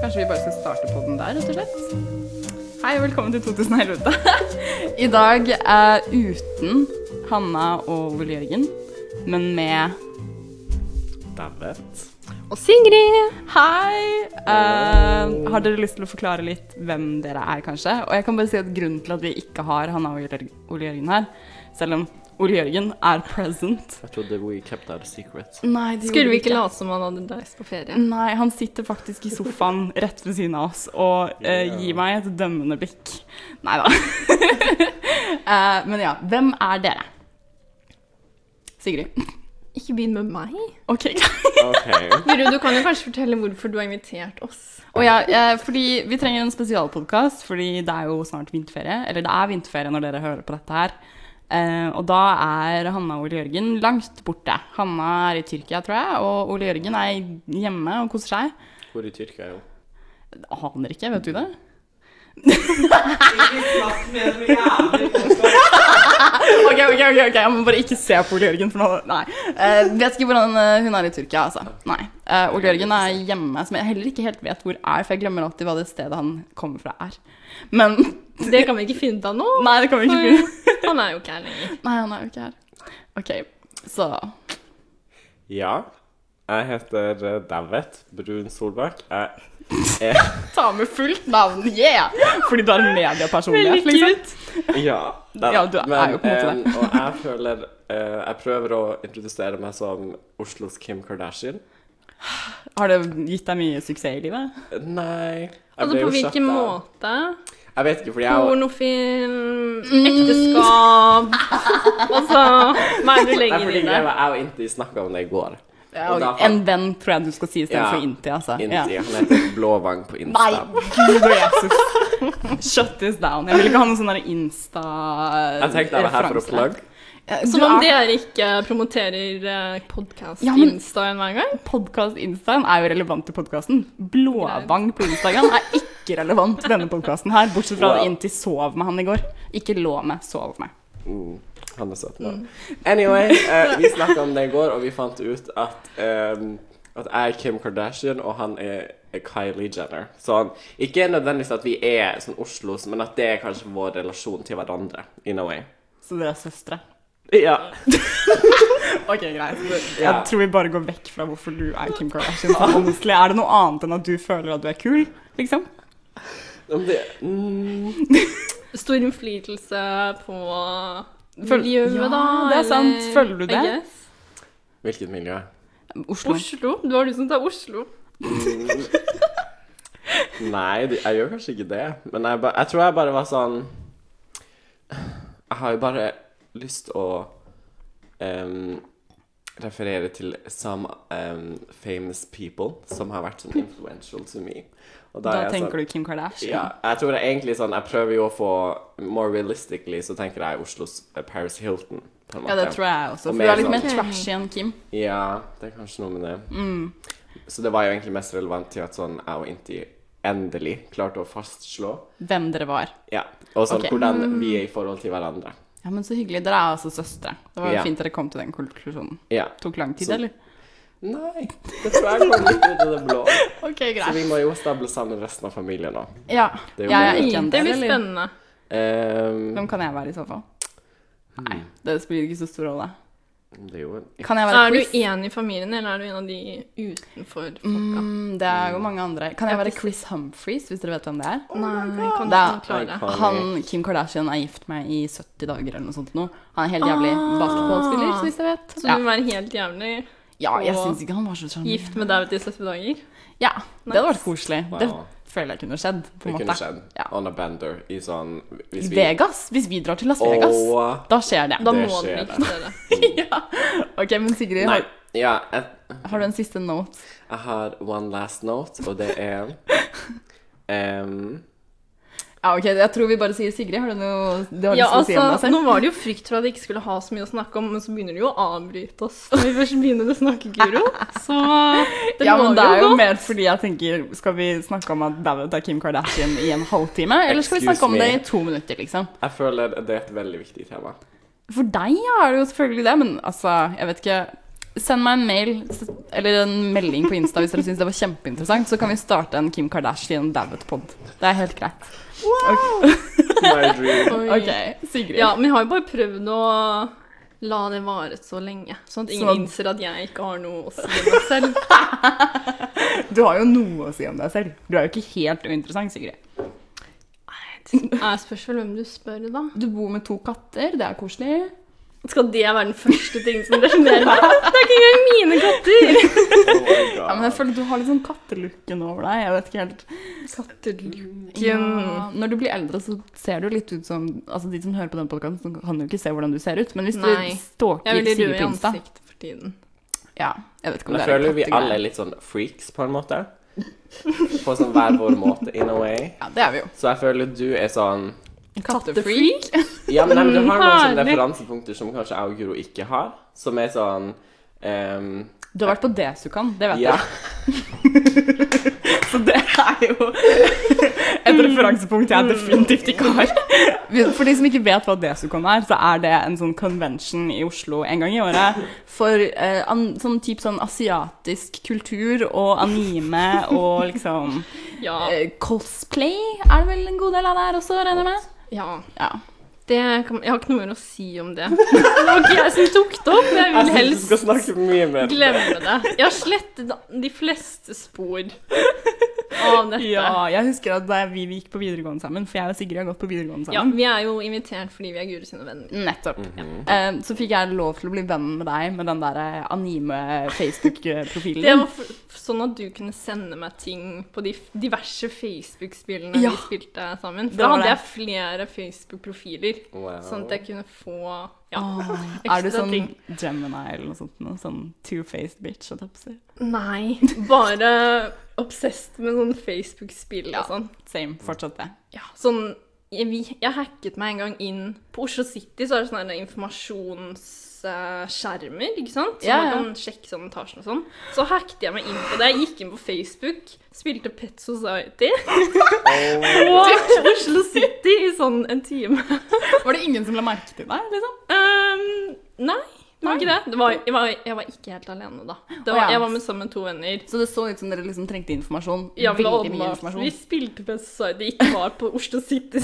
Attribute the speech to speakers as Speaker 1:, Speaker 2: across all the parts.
Speaker 1: Kanskje vi bare skal starte på den der, rett og slett? Hei, og velkommen til 2011. I dag er uten Hanna og Ole Jørgen, men med
Speaker 2: Davet.
Speaker 1: Og Sigrid! Hei! Eh, har dere lyst til å forklare litt hvem dere er, kanskje? Og jeg kan bare si at grunnen til at vi ikke har Hanna og Jørg- Ole Jørgen her, selv om Ole Jørgen er present
Speaker 2: Jeg trodde we kept our secret.
Speaker 1: Nei, det
Speaker 3: Skulle vi ikke late som han hadde reist på ferie?
Speaker 1: Nei, han sitter faktisk i sofaen rett ved siden av oss og eh,
Speaker 2: Ja.
Speaker 1: gir meg et dømmende blikk. Nei da. Eh, men ja, hvem er dere? Sigrid.
Speaker 3: Ikke begynn med meg.
Speaker 1: OK.
Speaker 2: OK.
Speaker 3: Guru, du kan jo kanskje fortelle hvorfor du har invitert oss.
Speaker 1: Og ja, eh, fordi vi trenger en spesialpodkast, fordi det er jo snart vinterferie. Eller det er vinterferie når dere hører på dette her. Eh, og da er Hanna og Ole Jørgen langt borte. Hanna er i Tyrkia, tror jeg, og Ole Jørgen er hjemme og koser seg.
Speaker 2: Hvor i Tyrkia er hun?
Speaker 1: Aner ikke, vet du det? Ok, ok, ok, ok, jeg må bare ikke se på Ole Jørgen for nå. Nei. Eh, vet ikke hvordan eh, hun er i Tyrkia, altså. Nei. Eh, Ole Jørgen er hjemme, som jeg heller ikke helt vet hvor er, for jeg glemmer alltid hva det stedet han kommer fra er. Men
Speaker 3: Det kan vi ikke finne ut av nå.
Speaker 1: Nei, det kan vi ikke finne.
Speaker 3: For han er jo ikke her lenger.
Speaker 1: Nei, han er jo ikke her. Ok, så
Speaker 2: Ja. Jeg heter eh, Davet Brun Solbakk. Jeg er
Speaker 1: Ta med fullt navn, yeah! Fordi du har en mediepersonlighet, liksom.
Speaker 2: Ja. da-
Speaker 1: Ja, du er jo på en måte
Speaker 2: eh, Og jeg føler eh, Jeg prøver å introdusere meg som Oslos Kim Kardashian.
Speaker 1: Har det gitt deg mye suksess i livet?
Speaker 2: Nei jeg
Speaker 3: Altså,
Speaker 2: ble
Speaker 3: på
Speaker 2: jo
Speaker 3: hvilken
Speaker 2: kjøpt av-
Speaker 3: måte?
Speaker 2: Jeg vet ikke, fordi jeg,
Speaker 3: Pornofilm,
Speaker 1: Mm.
Speaker 3: ekteskap Altså, hva er det du
Speaker 2: Nei,
Speaker 3: legger
Speaker 2: fordi
Speaker 3: i det?
Speaker 2: jeg, jeg og Inti snakka om det i går.
Speaker 1: Ja,
Speaker 2: Og da-
Speaker 1: og En venn tror jeg du skal si
Speaker 2: Ja.
Speaker 1: istedenfor for inntil, altså. Ja.
Speaker 2: Inti, Han heter Blåvang på Insta.
Speaker 1: Nei, Gud og Jesus. Shut this down. Jeg vil ikke ha noen sånn
Speaker 2: Jeg tenkte jeg var her for å
Speaker 1: Insta-referanse.
Speaker 2: plugge.
Speaker 3: Som om dere ikke promoterer podkast
Speaker 1: Ja, men-
Speaker 3: Insta enhver gang?
Speaker 1: Podkast-instaen er jo relevant til podkasten. Blåvang på Instagram er ikke relevant til denne podkasten her, bortsett fra
Speaker 2: Wow.
Speaker 1: inn til sov med han i går. Ikke lå med, sov med.
Speaker 2: Mm. Han er søt nå. Anyway, eh, vi snakka om det i går, og vi fant ut at, eh, at jeg er Kim Kardashian, og han er Kylie Jenner. Sånn, ikke nødvendigvis at vi er sånn Oslos, men at det er kanskje vår relasjon til hverandre, in a way.
Speaker 1: Så dere er søstre.
Speaker 2: Ja.
Speaker 1: Ok, greit. Jeg
Speaker 2: Ja.
Speaker 1: tror vi bare går vekk fra hvorfor du er Kim Kardashian. sånn honestly. Er det noe annet enn at du føler at du er kul, liksom?
Speaker 2: Om det, mm,
Speaker 3: Stor innflytelse på
Speaker 1: Føl-
Speaker 3: miljøet,
Speaker 1: Ja,
Speaker 3: da?
Speaker 1: det er sant.
Speaker 3: eller-
Speaker 1: Føler du
Speaker 3: I
Speaker 1: det?
Speaker 3: guess.
Speaker 2: hvilket miljø?
Speaker 1: Oslo.
Speaker 3: Oslo? Det var du som sa Oslo.
Speaker 2: Mm. Nei, det- jeg gjør kanskje ikke det. Men jeg, ba, jeg tror jeg bare var sånn Jeg har jo bare lyst å em, referere til some em, famous people som har vært sånn influential to me. Og
Speaker 1: Da
Speaker 2: er jeg
Speaker 1: tenker
Speaker 2: sånn,
Speaker 1: du Kim Kardashian.
Speaker 2: ja, jeg tror det er egentlig sånn Jeg prøver jo å få More realistically så tenker jeg Oslos eh, Paris Hilton, på en måte.
Speaker 1: Ja, det tror jeg også. For
Speaker 2: Og mer
Speaker 1: du er litt
Speaker 2: sånn-
Speaker 1: mer trashy enn Kim.
Speaker 2: Ja, det er kanskje noe med det.
Speaker 1: Mm.
Speaker 2: Så det var jo egentlig mest relevant til at sånn jeg og Inti endelig klarte å fastslå
Speaker 1: Hvem dere var.
Speaker 2: Ja, og sånn
Speaker 1: Ok. Mm.
Speaker 2: hvordan vi er i forhold til hverandre.
Speaker 1: Ja, men så hyggelig. Dere er altså søstre. Det var jo
Speaker 2: Ja.
Speaker 1: fint dere kom til den konklusjonen.
Speaker 2: Ja.
Speaker 1: Tok lang tid,
Speaker 2: Så-
Speaker 1: eller?
Speaker 2: Nei, det tror jeg kom litt ut av det blå.
Speaker 1: Ok,
Speaker 2: Så vi må jo stable sammen resten av familien nå.
Speaker 1: Ja.
Speaker 2: Det er jo
Speaker 1: Jeg er
Speaker 2: mulig.
Speaker 1: ikke en
Speaker 3: det
Speaker 1: del,
Speaker 3: blir
Speaker 1: eller?
Speaker 3: spennende.
Speaker 2: Ehm,
Speaker 1: Hvem kan jeg være i så fall?
Speaker 2: Hmm.
Speaker 1: Nei, det spiller ikke så stor rolle.
Speaker 2: det er jo en
Speaker 1: Kan jeg være
Speaker 3: Er
Speaker 1: Chris?
Speaker 3: du en i familien, eller er du en av de utenfor folka?
Speaker 1: Mm, det er jo mange andre. Kan jeg
Speaker 3: Ja,
Speaker 1: være
Speaker 3: Chris.
Speaker 1: Chris Humphries, hvis dere vet hvem det er?
Speaker 3: Nei, kan
Speaker 1: Det er-
Speaker 3: ikke klare det.
Speaker 2: Icon.
Speaker 1: Han, Kim Kardashian er gift med i 70 dager eller noe sånt nå. Han er helt jævlig
Speaker 3: Ah.
Speaker 1: basketballspiller, så vidt jeg vet.
Speaker 3: Så
Speaker 1: Ja,
Speaker 3: du vil være helt jævlig
Speaker 1: ja jeg
Speaker 3: og
Speaker 1: syns ikke han var så sjarmerende.
Speaker 3: gift med David i 70 dager?
Speaker 1: Ja, det hadde vært koselig.
Speaker 2: Wow.
Speaker 1: Det føler jeg kunne skjedd, på
Speaker 2: Vi
Speaker 1: en
Speaker 2: kunne
Speaker 1: måte.
Speaker 2: skjedd
Speaker 1: Ja.
Speaker 2: on a bender i sånn
Speaker 1: I
Speaker 2: hvis vi-
Speaker 1: Vegas? Hvis vi drar til Las Vegas,
Speaker 2: Og
Speaker 1: da skjer det.
Speaker 3: Da
Speaker 2: Det
Speaker 3: må du
Speaker 2: skjer
Speaker 3: ikke dere.
Speaker 1: ja. Ok, men Sigrid,
Speaker 2: Nei.
Speaker 1: har,
Speaker 2: Ja, jeg,
Speaker 1: har du en siste note?
Speaker 2: jeg har one last note, og det er ehm,
Speaker 1: Ja, ok, jeg tror vi bare sier Sigrid. Har du noe du har
Speaker 3: Ja,
Speaker 1: lyst til å si om deg
Speaker 3: altså,
Speaker 1: selv?
Speaker 3: nå var det jo frykt for at jeg ikke skulle ha så mye å snakke om, men så begynner du jo å avbryte oss når vi først begynner å snakke, Guro. Så det
Speaker 1: ja, men det er jo
Speaker 3: godt.
Speaker 1: mer fordi jeg tenker Skal vi snakke om at David er Kim Kardashian i en halvtime? Eller skal vi
Speaker 2: Excuse
Speaker 1: snakke om det i
Speaker 2: me.
Speaker 1: to minutter, liksom?
Speaker 2: Jeg føler det er et veldig viktig tema.
Speaker 1: For deg ja, er det jo selvfølgelig det, men altså, jeg vet ikke Send meg en mail s- eller en melding på Insta hvis dere syns det var kjempeinteressant, så kan vi starte en Kim Kardashian-David-pod. Det er helt greit.
Speaker 2: My dream.
Speaker 3: Oi.
Speaker 1: Ok, Sigrid.
Speaker 3: Ja, men jeg har jo bare prøvd å la det vare så lenge, sånn at ingen
Speaker 1: Sånn.
Speaker 3: innser at jeg ikke har noe å si om meg selv.
Speaker 1: Du har jo noe å si om deg selv. Du er jo ikke helt uinteressant, Sigrid.
Speaker 3: Jeg spørs vel hvem du spør, da.
Speaker 1: Du bor med to katter, det er koselig.
Speaker 3: Skal det være den første ting som resonnerer meg? Det er ikke engang mine katter!
Speaker 2: Oh my god.
Speaker 1: Ja, men jeg føler Du har litt sånn kattelooken over deg. jeg vet ikke helt.
Speaker 3: Katteluken.
Speaker 1: Ja, Når du blir eldre, så ser du litt ut som altså De som hører på den podkasten, kan jo ikke se hvordan du ser ut, men hvis
Speaker 3: Nei.
Speaker 1: du stalker
Speaker 3: Jeg er veldig
Speaker 1: Sigrid
Speaker 3: rød i
Speaker 1: på Insta
Speaker 3: ansiktet for tiden.
Speaker 1: ja, jeg vet ikke om det
Speaker 2: Men jeg
Speaker 1: er
Speaker 2: føler jo vi
Speaker 1: kattegreie.
Speaker 2: alle er litt sånn freaks, på en måte. På sånn hver vår måte, in a way.
Speaker 1: Ja, det er vi jo.
Speaker 2: Så jeg føler du er sånn
Speaker 1: Kattefreak?
Speaker 2: Ja, men, nei, men du har noen sånne
Speaker 3: Herlig.
Speaker 2: referansepunkter som kanskje jeg og Guro ikke har, som er sånn ehm,
Speaker 1: Du har vært på Desukan, det vet
Speaker 2: Ja.
Speaker 1: jeg. Så det er jo et referansepunkt jeg definitivt ikke har. For de som ikke vet hva Desukan er, så er det en sånn convention i Oslo en gang i året for eh, an, sånn type sånn asiatisk kultur og anime og liksom
Speaker 3: Ja.
Speaker 1: eh, Cosplay er det vel en god del av det her også, regner jeg med?
Speaker 3: ja.
Speaker 1: Ja.
Speaker 3: Det kan, jeg har ikke noe mer å si om det. Det var ikke jeg som tok det opp. Jeg
Speaker 2: Jeg
Speaker 3: vil
Speaker 2: syns du
Speaker 3: helst
Speaker 2: skal snakke mye mer. om det.
Speaker 3: glemme det. Jeg har slettet de fleste spor av dette.
Speaker 1: ja. Jeg husker at da vi gikk på videregående sammen, for jeg og Sigrid har gått på videregående
Speaker 3: Ja,
Speaker 1: sammen
Speaker 3: vi er jo invitert fordi vi er Guri sine venner.
Speaker 1: Nettopp. Eh, så fikk jeg lov til å bli venn med deg med den der eh, anime-Facebook-profilen.
Speaker 3: Det var f sånn at du kunne sende meg ting på de f- diverse Facebook-spillene
Speaker 1: Ja.
Speaker 3: vi spilte sammen.
Speaker 1: Det
Speaker 3: For da
Speaker 1: var
Speaker 3: hadde
Speaker 1: det.
Speaker 3: jeg flere Facebook-profiler, sånn at jeg kunne få ja,
Speaker 1: Åh,
Speaker 3: ekstra
Speaker 1: er du sånn
Speaker 3: ting.
Speaker 1: Gemini eller noe sånt? Noe? Sånn two-faced bitch? holdt jeg på å si.
Speaker 3: Nei, bare obsessed med sånn Facebook-spill
Speaker 1: Ja.
Speaker 3: og sånn.
Speaker 1: Same. Fortsatt det.
Speaker 3: Ja, sånn jeg, vi, jeg hacket meg en gang inn På Oslo City så er det sånne informasjonsskjermer, ikke sant? Så
Speaker 1: Ja, ja.
Speaker 3: man kan sjekke sånn etasjen og sånn. Så hacket jeg meg inn på det. Jeg gikk inn på Facebook, spilte Pet Society på Oslo City i sånn en time.
Speaker 1: Var det ingen som la merke til deg? liksom?
Speaker 3: Ehm, nei, det var
Speaker 1: Nei.
Speaker 3: ikke det. det var, jeg, var, jeg var ikke helt alene da. Det
Speaker 1: Å,
Speaker 3: var,
Speaker 1: ja.
Speaker 3: jeg var med sammen med to venner.
Speaker 1: Så det så ut som dere liksom trengte informasjon?
Speaker 3: Ja, men det var
Speaker 1: Veldig mye
Speaker 3: åpenbart.
Speaker 1: informasjon.
Speaker 3: Vi spilte Pet Society, ikke var på Oslo City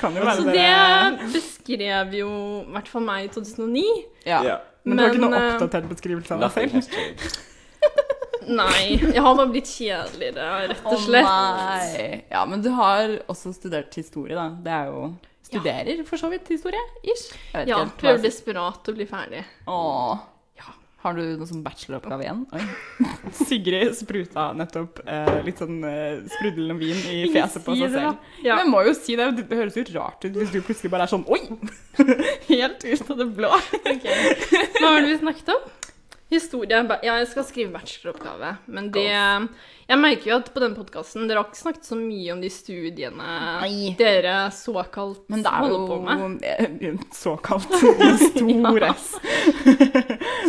Speaker 1: kan jo
Speaker 3: Så Altså, det beskrev jo i hvert fall meg i 2009.
Speaker 1: ja.
Speaker 2: Ja.
Speaker 1: Men det var ikke
Speaker 3: Men,
Speaker 1: noe
Speaker 3: eh,
Speaker 1: oppdatert beskrivelse av deg
Speaker 2: Nothing
Speaker 1: selv?
Speaker 2: has changed.
Speaker 3: Nei, jeg har bare blitt kjedeligere, rett og
Speaker 1: Å
Speaker 3: slett.
Speaker 1: nei. Ja, men du har også studert historie, da. Det er jo Studerer for så vidt historie, ish. Jeg vet ikke helt hva
Speaker 3: Ja,
Speaker 1: jeg
Speaker 3: prøver
Speaker 1: skal-
Speaker 3: desperat å bli ferdig.
Speaker 1: Åh. Har du noe sånn bacheloroppgave igjen? Oi. Sigrid spruta nettopp eh, litt sånn eh, sprudlende vin i fjeset på
Speaker 3: Si
Speaker 1: seg
Speaker 3: det, da.
Speaker 1: selv.
Speaker 3: Ja.
Speaker 1: Men jeg må jo si det, det høres jo rart ut hvis du plutselig bare er sånn oi! Helt ut av det blå.
Speaker 3: Hva var det vi snakket om? Historie. ba- Ja, jeg skal skrive bacheloroppgave. Men det Jeg merker jo at på denne podkasten Dere har ikke snakket så mye om de studiene
Speaker 1: Nei.
Speaker 3: dere såkalt
Speaker 1: Men det er
Speaker 3: holder på med.
Speaker 1: jo eh, såkalt stor S.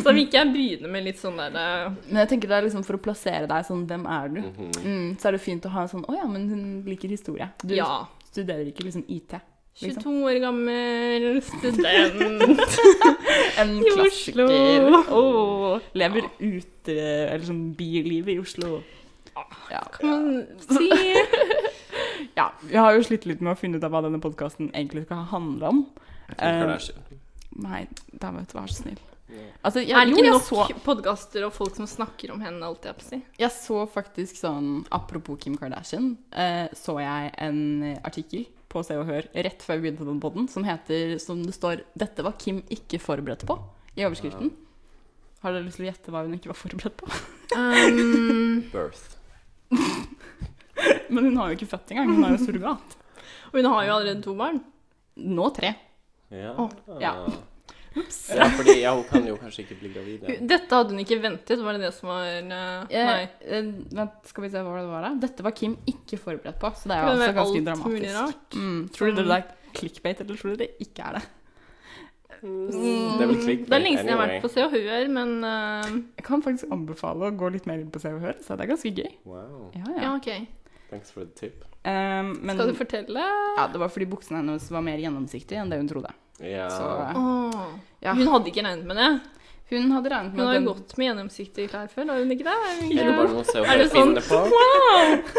Speaker 3: Så vil ikke jeg begynne med litt sånn der eh,
Speaker 1: Men jeg tenker det er liksom for å plassere deg sånn hvem er du? Mm, så er det fint å ha en sånn å ja, men hun liker historie. Du
Speaker 3: Ja.
Speaker 1: studerer ikke liksom IT. Liksom.
Speaker 3: 22 år gammel student
Speaker 1: En
Speaker 3: i Oslo.
Speaker 1: klassiker.
Speaker 3: Åh.
Speaker 1: Lever ute, eller sånn bilivet i Oslo. Ja.
Speaker 3: Men si
Speaker 1: ja. Vi har jo slitt litt med å finne ut av hva denne podkasten egentlig skal handle om.
Speaker 2: Kim
Speaker 1: Eh,
Speaker 2: Kardashian.
Speaker 1: Nei, da vet du, vær så snill. Altså, jeg,
Speaker 3: Er det ikke
Speaker 1: jo, jeg
Speaker 3: nok
Speaker 1: så,
Speaker 3: podkaster og folk som snakker om henne, holdt jeg på å si?
Speaker 1: jeg så faktisk sånn Apropos Kim Kardashian, eh, så jeg en eh, artikkel på Se og Hør rett før vi begynte den podden, som heter, som det står 'Dette var Kim ikke forberedt på' i overskriften. Har dere lyst til å gjette hva hun ikke var forberedt på?
Speaker 3: Um,
Speaker 2: Birth.
Speaker 1: Men hun har jo ikke født engang, hun har jo surrogat.
Speaker 3: og hun har jo allerede to barn.
Speaker 1: Nå tre.
Speaker 2: Ja. Ah.
Speaker 1: ja.
Speaker 2: ja, fordi ja, hun kan jo kanskje ikke bli gravid. Ja.
Speaker 3: Hun- Dette hadde hun ikke ventet, var det det som var eh, Nei.
Speaker 1: Eh, eh, vent, skal vi se hva det var da? Dette var Kim ikke forberedt på, så det er jo
Speaker 3: Kan det
Speaker 1: også
Speaker 3: være
Speaker 1: ganske
Speaker 3: alt mulig
Speaker 1: dramatisk.
Speaker 3: rart?
Speaker 1: Mm, tror dere det er clickbait, eller tror dere det ikke er det?
Speaker 2: Mm. Det er vel clickbait
Speaker 3: Det er lenge siden jeg har
Speaker 2: anyway.
Speaker 3: vært på Se og Hør, men eh,
Speaker 1: Jeg kan faktisk anbefale å gå litt mer inn på Se og Hør, så det er ganske gøy.
Speaker 2: Wow.
Speaker 1: Ja,
Speaker 3: ja,
Speaker 1: ja.
Speaker 3: OK.
Speaker 2: Thanks for the tip.
Speaker 1: Eh, men
Speaker 3: Skal du fortelle?
Speaker 1: ja, det var fordi buksene hennes var mer gjennomsiktige enn det hun trodde.
Speaker 2: Ja.
Speaker 1: Så
Speaker 3: Åh,
Speaker 1: ja.
Speaker 3: Hun hadde ikke regnet med det.
Speaker 1: Hun hadde regnet
Speaker 3: Hun
Speaker 1: med
Speaker 3: har jo
Speaker 1: den-
Speaker 3: gått med gjennomsiktige klær før, har hun ikke det? Er
Speaker 2: Er
Speaker 3: hun
Speaker 2: det
Speaker 3: ikke
Speaker 2: bare
Speaker 3: det?
Speaker 2: noe å se og
Speaker 3: Er
Speaker 2: høre
Speaker 3: det sånn?
Speaker 2: inne på?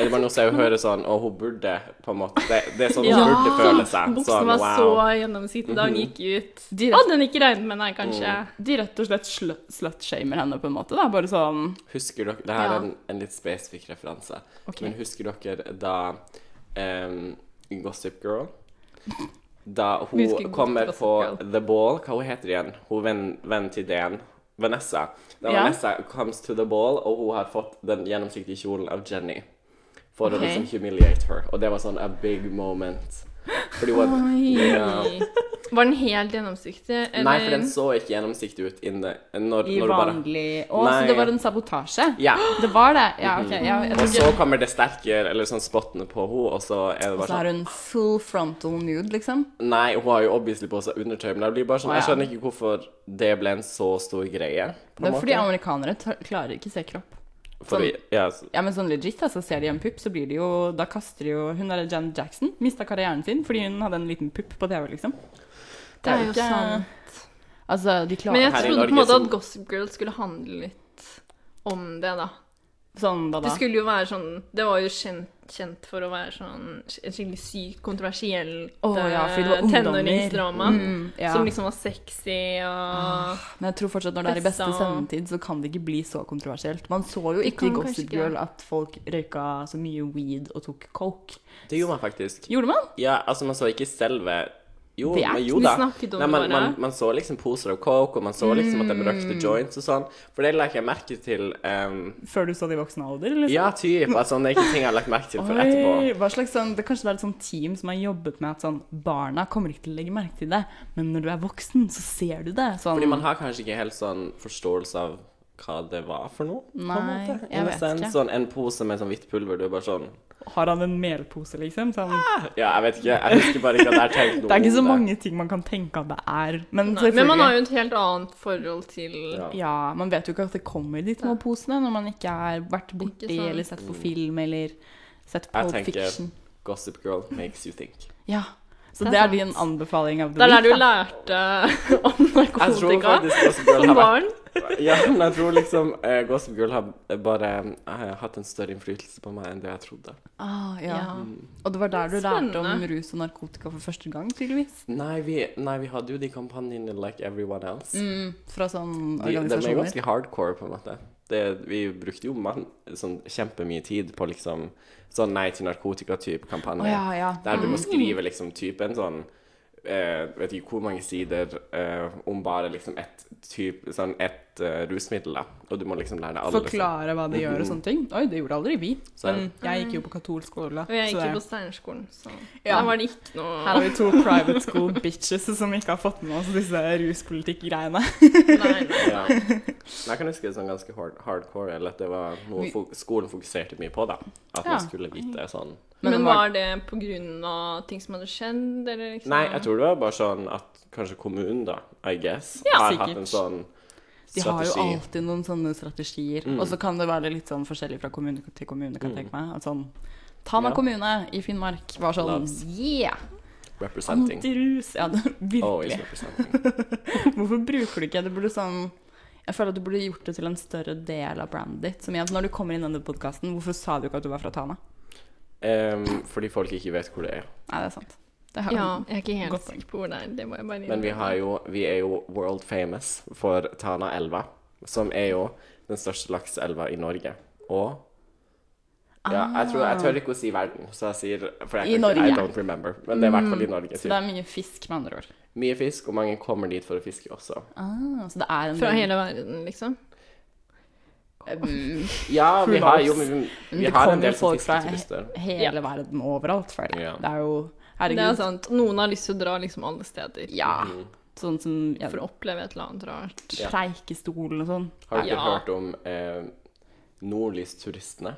Speaker 2: Er det bare noe å se og høre sånn Og hun burde, på en måte. Det, det er sånn hun
Speaker 3: Ja.
Speaker 2: burde føle seg.
Speaker 3: Buksene
Speaker 2: Sånn,
Speaker 3: var så
Speaker 2: wow. Mhm.
Speaker 3: gjennomsiktige da hun gikk ut.
Speaker 1: De-
Speaker 3: Hadde hun ikke regnet med det, kanskje.
Speaker 2: Mm.
Speaker 1: De rett og slett sl- slutshamer henne på en måte. Da. Bare sånn
Speaker 2: Husker dere Det her
Speaker 3: Ja.
Speaker 2: er en, en litt spesifikk referanse.
Speaker 1: Ok.
Speaker 2: Men husker dere da em, Gossip Girl? Da
Speaker 3: Vi husker
Speaker 2: hun
Speaker 3: godt
Speaker 2: kommer
Speaker 3: Gossip
Speaker 2: på
Speaker 3: Girl.
Speaker 2: The Ball Hva hun heter igjen? Hun venn, venn til DN. Vanessa. Da
Speaker 1: Ja.
Speaker 2: Vanessa comes to the ball, og hun har fått den gjennomsiktige kjolen av Jenny. For å
Speaker 1: Ok.
Speaker 2: liksom humiliate her. Og det var sånn a big moment. Fordi hun Ja.
Speaker 3: Var den helt gjennomsiktig? Eller?
Speaker 2: Nei, for den så ikke gjennomsiktig ut inne når,
Speaker 1: i
Speaker 2: når du bare
Speaker 1: vanlig Å, så
Speaker 2: Nei.
Speaker 1: det var en sabotasje?
Speaker 2: Ja.
Speaker 1: Det var det? Ja, OK. Ja, jeg
Speaker 2: Og
Speaker 1: tror
Speaker 2: så
Speaker 1: ikke
Speaker 2: kommer det sterke eller sånn spottene på henne, og så er det
Speaker 1: Og
Speaker 2: bare
Speaker 1: så
Speaker 2: sånn
Speaker 1: er hun full frontal nude, liksom.
Speaker 2: Nei, hun har jo obviously på seg undertøy, men jeg blir bare sånn
Speaker 1: Å, ja.
Speaker 2: Jeg skjønner ikke hvorfor det ble en så stor greie, på
Speaker 1: Det
Speaker 2: en
Speaker 1: er fordi
Speaker 2: måte.
Speaker 1: amerikanere tar- klarer ikke se kropp.
Speaker 2: For vi, ja, s-
Speaker 1: Ja, men sånn legit, altså, ser de en pupp, så blir det jo Da kaster de jo Hun der Janet Jackson mista karrieren sin fordi hun hadde en liten pupp på TV, liksom.
Speaker 3: Det er jo sant.
Speaker 1: Altså, de klarer
Speaker 3: Men jeg
Speaker 2: Her i
Speaker 3: trodde på en
Speaker 2: Norge
Speaker 3: måte
Speaker 2: så-
Speaker 3: at Gossip Girl skulle handle litt om det, da.
Speaker 1: Sånn, hva da?
Speaker 3: Det skulle jo være sånn Det var jo kjent, kjent for å være sånn en skikkelig sykt kontroversiell
Speaker 1: Å, ja, fordi det var
Speaker 3: eh,
Speaker 1: ungdommer.
Speaker 3: tenåringsdrama.
Speaker 1: Mm, ja.
Speaker 3: Som liksom var sexy og
Speaker 2: Ah,
Speaker 1: Men jeg tror fortsatt når det er i beste
Speaker 3: Festa.
Speaker 1: sendetid, så kan det ikke bli så kontroversielt. Man så jo ikke i
Speaker 3: kan kanskje
Speaker 1: Gossip
Speaker 3: ikke.
Speaker 1: Girl at folk røyka så mye weed og tok coke.
Speaker 2: det gjorde man faktisk.
Speaker 1: Gjorde man?
Speaker 2: Ja, altså, man så ikke selve Jo,
Speaker 1: Det er-
Speaker 2: men jo
Speaker 3: vi
Speaker 2: da.
Speaker 3: snakket om
Speaker 2: Nei,
Speaker 3: det
Speaker 2: man,
Speaker 3: bare.
Speaker 2: man, man så liksom poser av coke, og man så
Speaker 1: Mm.
Speaker 2: liksom at de røkte joints og sånn. For det la jeg merke til em,
Speaker 1: Før du så det i voksen alder? Liksom.
Speaker 2: Ja, typ. Altså, det er ikke ting jeg har lagt merke til før
Speaker 1: Oi,
Speaker 2: etterpå.
Speaker 1: hva slags sånn, det, Kanskje det er et sånt team som har jobbet med at sånn, barna kommer ikke til å legge merke til det, men når du er voksen, så ser du det. Sånn,
Speaker 2: Fordi man har kanskje ikke helt sånn forståelse av hva det var for noe. på en
Speaker 1: Nei,
Speaker 2: måte.
Speaker 1: jeg
Speaker 2: In a
Speaker 1: vet
Speaker 2: sense,
Speaker 1: ikke.
Speaker 2: Sånn, en pose med sånn hvitt pulver, du er bare sånn
Speaker 1: har han en melpose, liksom? Sånn,
Speaker 2: Ja, jeg vet ikke. Jeg husker bare ikke at jeg har tenkt noe
Speaker 1: det er ikke så
Speaker 2: om
Speaker 1: mange ting man kan tenke at det er. Men,
Speaker 3: Nei, Men man
Speaker 1: selvfølgelig-
Speaker 3: har jo et helt annet forhold til
Speaker 2: Ja.
Speaker 1: ja, man vet jo ikke at det kommer i de små posene når man ikke har vært
Speaker 3: Ikke
Speaker 1: borti
Speaker 3: sant.
Speaker 1: eller sett på film eller sett på
Speaker 2: Jeg tenker-
Speaker 1: fiction.
Speaker 2: Gossip Girl makes you think.
Speaker 1: Ja. Så
Speaker 3: Det
Speaker 1: det
Speaker 3: er
Speaker 1: er,
Speaker 3: sant.
Speaker 1: din anbefaling av the
Speaker 3: Det er der du
Speaker 1: week. da.
Speaker 3: lærte om
Speaker 2: Jeg tror
Speaker 3: narkotika
Speaker 2: faktisk Gossip Girl
Speaker 3: som
Speaker 2: har vært
Speaker 3: barn.
Speaker 2: Ja, men jeg tror liksom eh, Gossip Girl har bare eh, hatt en større innflytelse på meg enn det jeg trodde.
Speaker 1: Ah, ja.
Speaker 3: Ja.
Speaker 1: Og det var der du lærte om
Speaker 3: Spennende.
Speaker 1: rus og narkotika for første gang, tydeligvis.
Speaker 2: Nei, vi, nei, vi hadde jo de kampanjene like everyone else.
Speaker 1: Mm.
Speaker 3: Mm.
Speaker 1: Fra sånn
Speaker 2: De, de er jo
Speaker 1: organisasjoner.
Speaker 2: ganske hardcore, på en måte. Det, vi brukte jo man, sånn, kjempemye tid på liksom sånn nei til narkotika-type kampanje.
Speaker 1: Å ja, ja. Mm.
Speaker 2: Der du må skrive liksom typen sånn eh, Vet ikke hvor mange sider eh, om bare liksom ett typ, sånn ett eh, rusmiddel, da. Og du må liksom lære deg alle.
Speaker 1: Forklare hva det gjør og sånne ting. Oi, det gjorde aldri vi.
Speaker 2: Så-
Speaker 1: Men jeg gikk jo på katolsk skole.
Speaker 3: Mm. Og jeg
Speaker 1: så
Speaker 3: gikk jo
Speaker 1: det-
Speaker 3: på Steinerskolen, så
Speaker 1: Ja.
Speaker 3: der var det ikke noe
Speaker 1: Her har vi to private school bitches som ikke har fått med oss disse ruspolitikk-greiene.
Speaker 3: Nei, nei.
Speaker 2: Ja. Men jeg kan huske det sånn ganske hard, hardcore, eller at det var noe
Speaker 1: Vi-
Speaker 2: fo skolen fokuserte mye på, da. At
Speaker 1: Ja. Mm.
Speaker 2: man skulle vite sånn
Speaker 1: Men
Speaker 3: Men,
Speaker 1: var-
Speaker 3: var det på grunn av ting som hadde skjedd, eller liksom
Speaker 2: Nei, jeg tror det var bare sånn at kanskje kommunen, da, I guess,
Speaker 1: Ja,
Speaker 2: har
Speaker 1: sikkert.
Speaker 2: hatt en sånn
Speaker 1: De har jo
Speaker 2: strategi.
Speaker 1: alltid noen sånne strategier.
Speaker 2: Mm.
Speaker 1: Og så kan det være litt sånn forskjellig fra kommune til kommune, kan jeg tenke meg. At sånn Tana
Speaker 2: Ja.
Speaker 1: kommune i Finnmark var sånn
Speaker 2: Loves.
Speaker 1: Yeah!
Speaker 2: Representing.
Speaker 1: Antirus! Ja, det-
Speaker 2: Always
Speaker 1: virkelig.
Speaker 2: representing.
Speaker 1: Hvorfor bruker du ikke det? burde sånn Jeg føler at du burde gjort det til en større del av brandet ditt. Som igjen, når du kommer inn i denne podkasten, hvorfor sa du ikke at du var fra Tana?
Speaker 2: Em, fordi folk ikke vet hvor det er.
Speaker 1: Nei, det er sant. Det har
Speaker 3: Ja, jeg er ikke helt
Speaker 1: Godt poeng.
Speaker 3: sikker på hvor det er. Det må jeg bare
Speaker 2: Men vi, har jo, vi er jo world famous for Tanaelva, som er jo den største lakseelva i Norge. Og ja, jeg, tror, jeg tør ikke å si verden, så jeg sier For
Speaker 1: I
Speaker 2: jeg, kan ikke- I
Speaker 1: Norge. Mm,
Speaker 2: don't remember. Men det er i hvert fall i Norge.
Speaker 1: Ah. Så
Speaker 2: Typ.
Speaker 1: det er mye fisk, med andre ord.
Speaker 2: Mye fisk, og mange kommer dit for å fiske også.
Speaker 1: Ah, så det er en
Speaker 3: Fra hele verden, liksom.
Speaker 1: Mm,
Speaker 2: Ja, vi
Speaker 1: Who
Speaker 2: har jo
Speaker 1: knows?
Speaker 2: vi,
Speaker 1: Men
Speaker 2: vi
Speaker 1: det
Speaker 2: har en
Speaker 1: kommer
Speaker 2: del
Speaker 1: jo
Speaker 2: som
Speaker 1: folk fra
Speaker 2: fisketurister.
Speaker 1: he- hele verden overalt for det.
Speaker 2: Ja.
Speaker 1: Det er jo
Speaker 3: Det er
Speaker 1: Herregud.
Speaker 3: sant. Noen har lyst til å dra liksom alle steder
Speaker 1: Ja.
Speaker 2: Mm.
Speaker 1: Sånn som ja,
Speaker 3: for å oppleve et eller annet rart.
Speaker 2: Ja.
Speaker 1: Preikestolen og sånn.
Speaker 2: Har dere
Speaker 3: Ja.
Speaker 2: hørt om eh, nordlysturistene?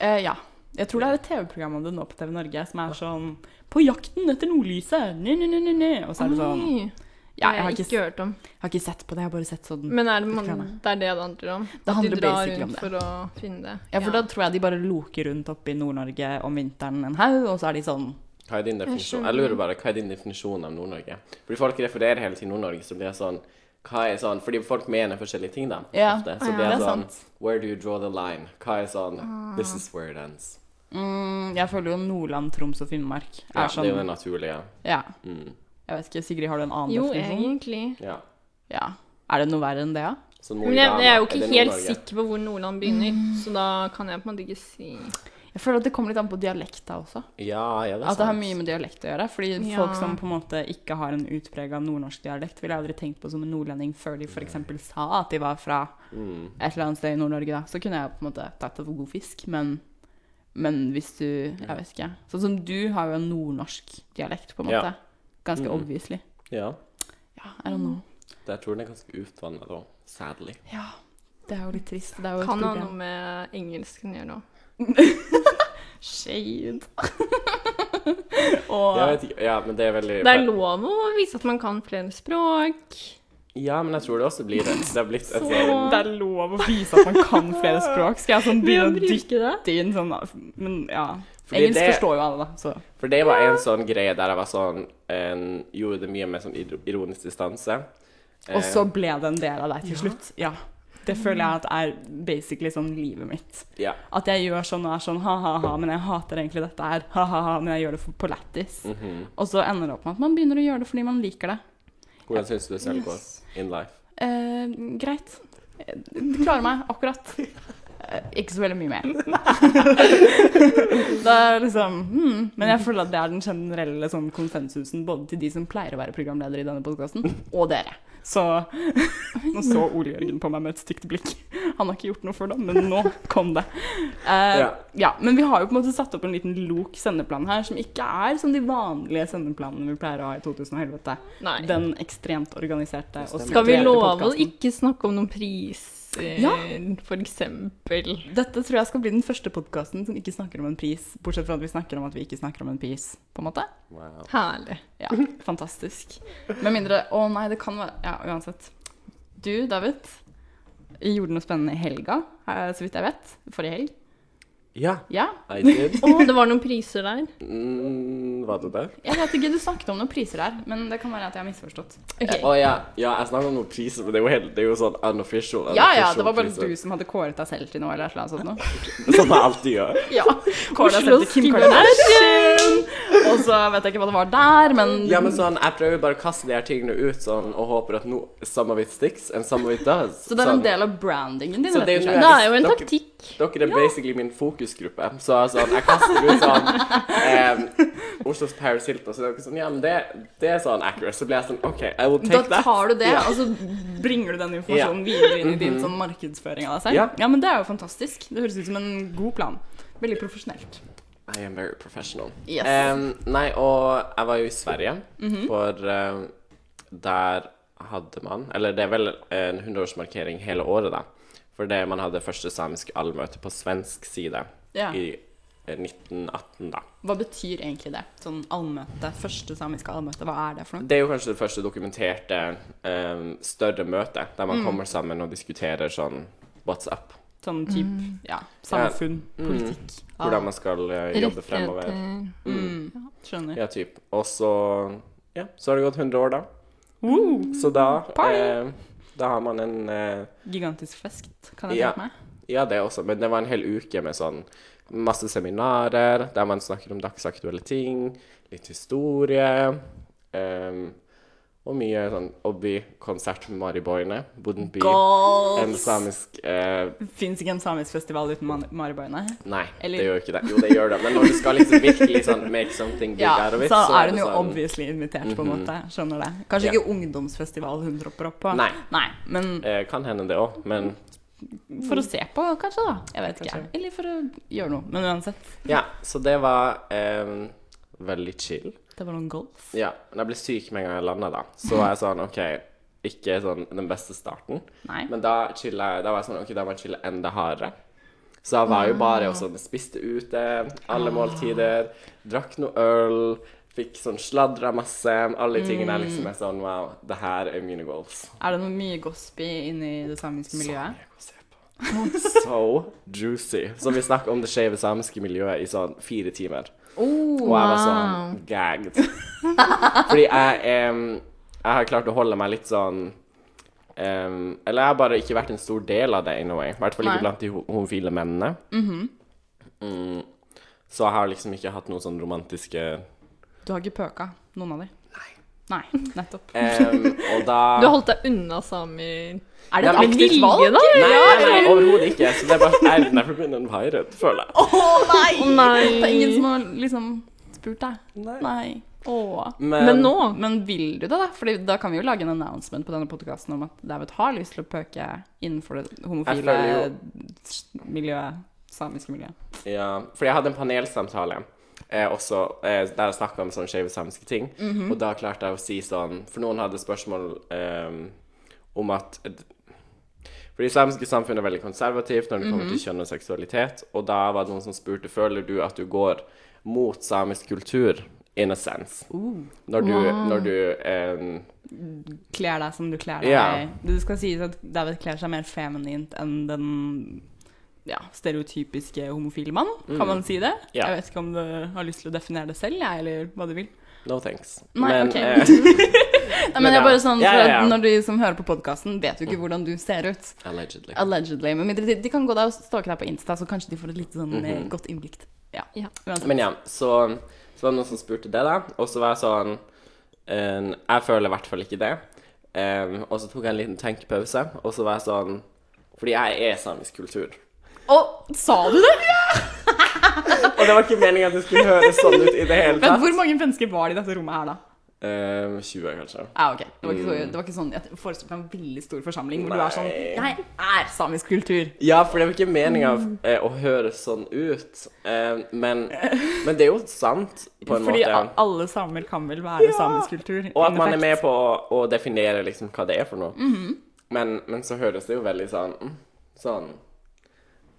Speaker 1: Eh, ja. Jeg tror det er et TV-program om det nå på TV Norge som er sånn På jakten etter nordlyset! Nø, nø, nø, nø, nø. Og så er det sånn
Speaker 3: Oi,
Speaker 1: Ja,
Speaker 3: det
Speaker 1: jeg
Speaker 3: har
Speaker 1: har
Speaker 3: jeg
Speaker 1: ikke, Mm.
Speaker 3: ikke hørt om.
Speaker 1: jeg har ikke sett på det, jeg har bare sett sånn
Speaker 3: Men er det, man,
Speaker 1: Reklame.
Speaker 3: det er det det handler om? At
Speaker 1: handler
Speaker 3: du drar
Speaker 1: basically om det.
Speaker 3: rundt for å finne det?
Speaker 1: Ja, for da tror jeg de bare loker rundt oppe i Nord-Norge om vinteren en haug, og så er de sånn
Speaker 2: Hva er din definisjon? Jeg
Speaker 3: skjønner.
Speaker 2: lurer bare, hva er din definisjon av Nord-Norge? Fordi folk refererer hele til Nord-Norge, så blir jeg sånn hva er sånn, Fordi folk mener forskjellige ting, da.
Speaker 1: Ja.
Speaker 2: ofte.
Speaker 3: Ah,
Speaker 2: Så
Speaker 3: ja.
Speaker 2: blir jeg
Speaker 1: Det er
Speaker 2: sånn
Speaker 1: sant.
Speaker 2: Where do you draw the line? Hva er sånn
Speaker 3: Ah.
Speaker 2: This is where it ends.
Speaker 1: Mm, jeg føler jo Nordland, Troms og Finnmark er
Speaker 2: Ja,
Speaker 1: sånn
Speaker 2: Det er jo det naturlige.
Speaker 1: Ja.
Speaker 2: Mm.
Speaker 1: Jeg vet ikke, Sigrid, har du en annen
Speaker 3: Jo,
Speaker 1: definisjon?
Speaker 3: egentlig.
Speaker 2: Ja.
Speaker 1: Ja. Er det noe verre enn det, da?
Speaker 2: Så Mo i
Speaker 3: Men jeg, jeg er jo
Speaker 2: Rana,
Speaker 3: ikke
Speaker 2: det
Speaker 3: helt
Speaker 2: Nord-Norge?
Speaker 3: sikker på hvor Nordland begynner, så da kan jeg på en måte ikke si
Speaker 1: Jeg føler at det kommer litt an på dialekta også.
Speaker 2: Ja, ja, det er
Speaker 1: At det har
Speaker 2: sant.
Speaker 1: mye med dialekt å gjøre. Fordi
Speaker 3: Ja.
Speaker 1: folk som på en måte ikke har en utprega nordnorsk dialekt, ville jeg aldri tenkt på som en nordlending før de f.eks. sa at de var fra
Speaker 2: Mm.
Speaker 1: et eller annet sted i Nord-Norge, da. Så kunne jeg på en måte tatt det for god fisk, men, men hvis du Jeg vet ikke. Sånn som du har jo en nordnorsk dialekt, på en
Speaker 2: Ja.
Speaker 1: måte. Ganske
Speaker 2: Mm.
Speaker 1: obviously.
Speaker 2: Ja.
Speaker 1: Ja, I don't know.
Speaker 2: Det, jeg tror den er ganske utvannet da. Sadly.
Speaker 1: Ja. Det er jo litt trist. Det er jo et
Speaker 3: Kan ha noe
Speaker 1: problem.
Speaker 3: med engelsken å gjøre nå.
Speaker 1: Shade. Og
Speaker 2: Jeg vet ikke, ja, men det er veldig
Speaker 3: Det er lov å vise at man kan flere språk.
Speaker 2: Ja, men jeg tror det også blir det. Det har blitt et
Speaker 3: Så-
Speaker 2: sånn
Speaker 1: Det er lov å vise at man kan flere språk. Skal jeg sånn begynne å
Speaker 3: Begynn å bruke
Speaker 1: dytte inn sånn Men ja.
Speaker 2: Fordi
Speaker 1: Engelsk
Speaker 2: det-
Speaker 1: forstår jo alle, da. Så.
Speaker 2: For det var en sånn greie der jeg var sånn en, Gjorde det mye med sånn ir- ironisk distanse. Eh,
Speaker 1: Og så ble det en del av deg til slutt. Ja. Det føler jeg at er basically sånn livet mitt.
Speaker 2: Eh, Ja.
Speaker 1: At jeg gjør sånn og er sånn ha-ha-ha, men jeg hater egentlig dette her. Ha-ha-ha, men jeg gjør det for, på lættis.
Speaker 2: mhm.
Speaker 1: Og så ender det opp med at man begynner å gjøre det fordi man liker det.
Speaker 2: Hvordan syns du det selv går in life?
Speaker 1: Eh, greit. Eh, Det klarer meg akkurat. Eh, ikke så veldig mye mer. det er liksom hmm. Men jeg føler at det er den generelle sånn, konsensusen både til de som pleier å være programledere i denne podkasten, og dere. Så Nå så Ole Jørgen på meg med et stygt blikk. Han har ikke gjort noe for det, men nå kom det. Eh,
Speaker 2: Ja.
Speaker 1: ja. Men vi har jo på en måte satt opp en liten lok sendeplan her, som ikke er som de vanlige sendeplanene vi pleier å ha i 2011.
Speaker 3: Nei.
Speaker 1: Den ekstremt organiserte og
Speaker 3: Skal vi
Speaker 1: strukturerte
Speaker 3: love å
Speaker 1: podcasten.
Speaker 3: ikke snakke om noen priser,
Speaker 1: Ja.
Speaker 3: for eksempel?
Speaker 1: Dette tror jeg skal bli den første podkasten som ikke snakker om en pris, bortsett fra at vi snakker om at vi ikke snakker om en pris, på en måte.
Speaker 2: Wow.
Speaker 3: Herlig.
Speaker 1: Ja, fantastisk. Med mindre Å nei, det kan være Ja, uansett. Du, David, gjorde noe spennende i helga, eh, så vidt jeg vet. Forrige helg.
Speaker 2: Ja,
Speaker 1: Ja?
Speaker 2: I did.
Speaker 3: Å, det var noen priser der.
Speaker 2: Mm, var det det?
Speaker 1: Jeg vet ikke, du snakket om noen priser her, men det kan være at jeg har misforstått.
Speaker 2: Å ja. ja, jeg snakket om noen priser, men det er jo, helt, det er jo sånn unofficial.
Speaker 1: Ja ja, det var bare
Speaker 2: unofficial
Speaker 1: du som hadde kåret deg selv til noe, eller et eller annet sånt noe.
Speaker 2: priser. Som jeg alltid gjør.
Speaker 1: Ja. Kåret deg selv til Kim
Speaker 3: Oslos
Speaker 1: Kardashian. Og så vet jeg ikke hva det var der, men
Speaker 2: Ja, men sånn, Jeg prøver bare å kaste de her tingene ut sånn, og håper at no, some of it sticks and some of it does.
Speaker 1: Så det er en
Speaker 2: Sånn.
Speaker 1: del av brandingen din,
Speaker 2: Så
Speaker 1: rett
Speaker 2: det er
Speaker 1: og
Speaker 2: jo
Speaker 1: slett.
Speaker 2: noe
Speaker 3: Det er jo en
Speaker 2: Dere-
Speaker 3: taktikk.
Speaker 2: Dere er basically min fokusgruppe. Så altså, jeg kaster ut sånn eh, Oslos Paris Hilton, så det er dere sånn Ja, men det, det er sånn accurate. Så blir jeg sånn OK, I will
Speaker 1: Da
Speaker 2: take that.
Speaker 1: tar du det, altså.
Speaker 2: Ja. Mhm.
Speaker 1: og så bringer du den informasjonen videre inn i din sånn markedsføring av deg selv.
Speaker 2: Ja.
Speaker 1: Ja. men det er jo fantastisk. Det høres ut som en god plan. Veldig profesjonelt.
Speaker 2: I am very professional.
Speaker 1: Yes. Mhm.
Speaker 2: Em, nei, og jeg var jo i Sverige, for eh, der hadde man Eller det er vel en 100-årsmarkering hele året, da. For det man hadde første samiske allmøte på svensk side
Speaker 1: Ja.
Speaker 2: i eh, 1918, da.
Speaker 1: Hva betyr egentlig det? Sånn allmøte, første samiske allmøte, hva er det for noe?
Speaker 2: Det er jo kanskje det første dokumenterte em, større møtet, der man kommer sammen og diskuterer sånn what's up.
Speaker 1: Sånn typ,
Speaker 2: Mhm.
Speaker 1: ja, samfunn, politikk.
Speaker 2: Hvordan Mhm. man skal eh, jobbe fremover.
Speaker 3: Rettigheter.
Speaker 1: Mm, skjønner.
Speaker 2: Ja, typ. Og så Ja, så har det gått 100 år, da.
Speaker 1: Woo!
Speaker 2: Så da
Speaker 1: Party!
Speaker 2: eh, Da har man en eh,
Speaker 1: gigantisk fest, kan jeg
Speaker 2: Ja.
Speaker 1: tenke meg.
Speaker 2: Ja, det også, men det var en hel uke med sånn masse seminarer der man snakker om dagsaktuelle ting, litt historie. em, og mye sånn obby-konsert med Mari Boine. Wouldn't be en
Speaker 1: Goals!
Speaker 2: samisk eh,
Speaker 1: Fins ikke en samisk festival uten Man- Mariboine?
Speaker 2: Nei,
Speaker 1: Eller-
Speaker 2: det gjør jo ikke det. Jo, det gjør det, men når du skal liksom virkelig sånn make something big
Speaker 1: Ja,
Speaker 2: out of it,
Speaker 1: så er hun
Speaker 2: det
Speaker 1: jo
Speaker 2: sånn
Speaker 1: obviously invitert, på en måte. Skjønner det. Kanskje
Speaker 2: Ja.
Speaker 1: ikke ungdomsfestival hun dropper opp på.
Speaker 2: Nei.
Speaker 1: men
Speaker 2: eh, Kan hende det òg, men
Speaker 1: For å se på, kanskje, da. Jeg vet ikke.
Speaker 2: Kanskje.
Speaker 1: Eller for å gjøre noe. Men uansett.
Speaker 2: Ja, så det var em, veldig chill.
Speaker 1: Det var noen goals.
Speaker 2: Ja, men jeg ble syk med en gang jeg landa, da. Så var jeg sånn OK, ikke sånn den beste starten.
Speaker 1: Nei.
Speaker 2: Men da chilla jeg Da var jeg sånn OK, da må jeg chille enda hardere. Så jeg var jo bare og sånn spiste ute
Speaker 1: Ah.
Speaker 2: alle måltider, drakk noe øl, fikk sånn sladra masse. Alle de tingene jeg liksom er sånn Wow, det her er mine goals.
Speaker 1: Er det noe mye gospy inni det samiske miljøet?
Speaker 2: Så mye å se på. So juicy. Som vi snakket om det skeive samiske miljøet i sånn fire timer.
Speaker 3: Oh,
Speaker 2: Og jeg var sånn gagged. Fordi jeg em, Jeg har klart å holde meg litt sånn em, Eller jeg har bare ikke vært en stor del av det in a way. I hvert fall
Speaker 1: Nei.
Speaker 2: ikke blant de ho- homofile mennene.
Speaker 3: Mm-hmm.
Speaker 2: mm, så jeg har liksom ikke hatt noen sånn romantiske
Speaker 1: Du har ikke pøka noen av de? Nei. nettopp.
Speaker 2: em, Og da
Speaker 3: Du har holdt deg unna samer
Speaker 1: Er
Speaker 2: det et aktivt
Speaker 3: valg, da?
Speaker 2: Nei, nei, nei overhodet ikke. Så det er bare I've never been invited, føler jeg.
Speaker 1: Å nei!
Speaker 3: Å, nei.
Speaker 1: Det er ingen som har liksom spurt deg.
Speaker 2: Nei.
Speaker 1: Nei. Åh.
Speaker 3: Men nå
Speaker 1: Eh, Men vil du det, da? Fordi da kan vi jo lage en announcement på denne podkasten om at David har lyst til å pøke innenfor det
Speaker 2: Jeg
Speaker 1: homofile
Speaker 2: føler
Speaker 1: miljøet. Samiske miljøet.
Speaker 2: Ja, for jeg hadde en panelsamtale eh, også, eh, der jeg snakka om sånne skeive samiske ting.
Speaker 1: Mhm.
Speaker 2: Og da klarte jeg å si sånn For noen hadde spørsmål eh, om at For det samiske samfunnet er veldig konservativt når det kommer
Speaker 1: Mhm.
Speaker 2: til kjønn og seksualitet. Og da var det noen som spurte føler du at du går mot samisk kultur in a sense. Når du, når du eh,
Speaker 1: Kler deg som du kler deg.
Speaker 2: Ja.
Speaker 1: Det skal sies at David kler seg mer feminint enn den ja, stereotypiske homofile mann, kan man si det?
Speaker 2: Mm. Ja.
Speaker 1: Jeg vet ikke om du har lyst til å definere det selv, jeg, eller hva du vil.
Speaker 2: No thanks. eh,
Speaker 1: Nei, ok. Nei,
Speaker 2: Men
Speaker 1: men jeg
Speaker 2: ja.
Speaker 1: bare sånn,
Speaker 2: Ja,
Speaker 1: for
Speaker 2: ja,
Speaker 1: at
Speaker 2: ja. Mm.
Speaker 1: Når de som hører på podkasten, vet jo ikke hvordan du ser ut.
Speaker 2: allegedly.
Speaker 1: Allegedly. Men mindre de, de kan gå der og stalke deg på Insta, så kanskje de får et litt sånn eh,
Speaker 2: Mhm.
Speaker 1: godt innblikk. Ja.
Speaker 3: Ja.
Speaker 1: Uansett.
Speaker 2: Men ja, så, så var det noen som spurte det, da. Og så var jeg sånn eh, Jeg føler i hvert fall ikke det. Eh, og så tok jeg en liten tenkepause, og så var jeg sånn Fordi jeg er samisk kultur.
Speaker 1: Og sa du det?!
Speaker 2: Og det var ikke meningen at det skulle høres sånn ut i det hele
Speaker 1: Men
Speaker 2: tatt.
Speaker 1: hvor mange mennesker var det i dette rommet her, da?
Speaker 2: Eh, 20, kanskje.
Speaker 1: Ja, ok. Det var ikke,
Speaker 2: Mm.
Speaker 1: så, det var ikke sånn Jeg forestilte meg en veldig stor forsamling hvor du er sånn
Speaker 2: Nei.
Speaker 1: Jeg er samisk kultur!
Speaker 2: Ja, for det var ikke meninga eh, å høres sånn ut. Eh, men, men det er jo sant, på en
Speaker 1: Fordi
Speaker 2: måte.
Speaker 1: a- alle samer kan vel være samisk kultur?
Speaker 2: Og at
Speaker 1: in
Speaker 2: man er
Speaker 1: effect.
Speaker 2: med på å, å definere liksom hva det er for noe. men, men så høres det jo veldig sånn mm, Sånn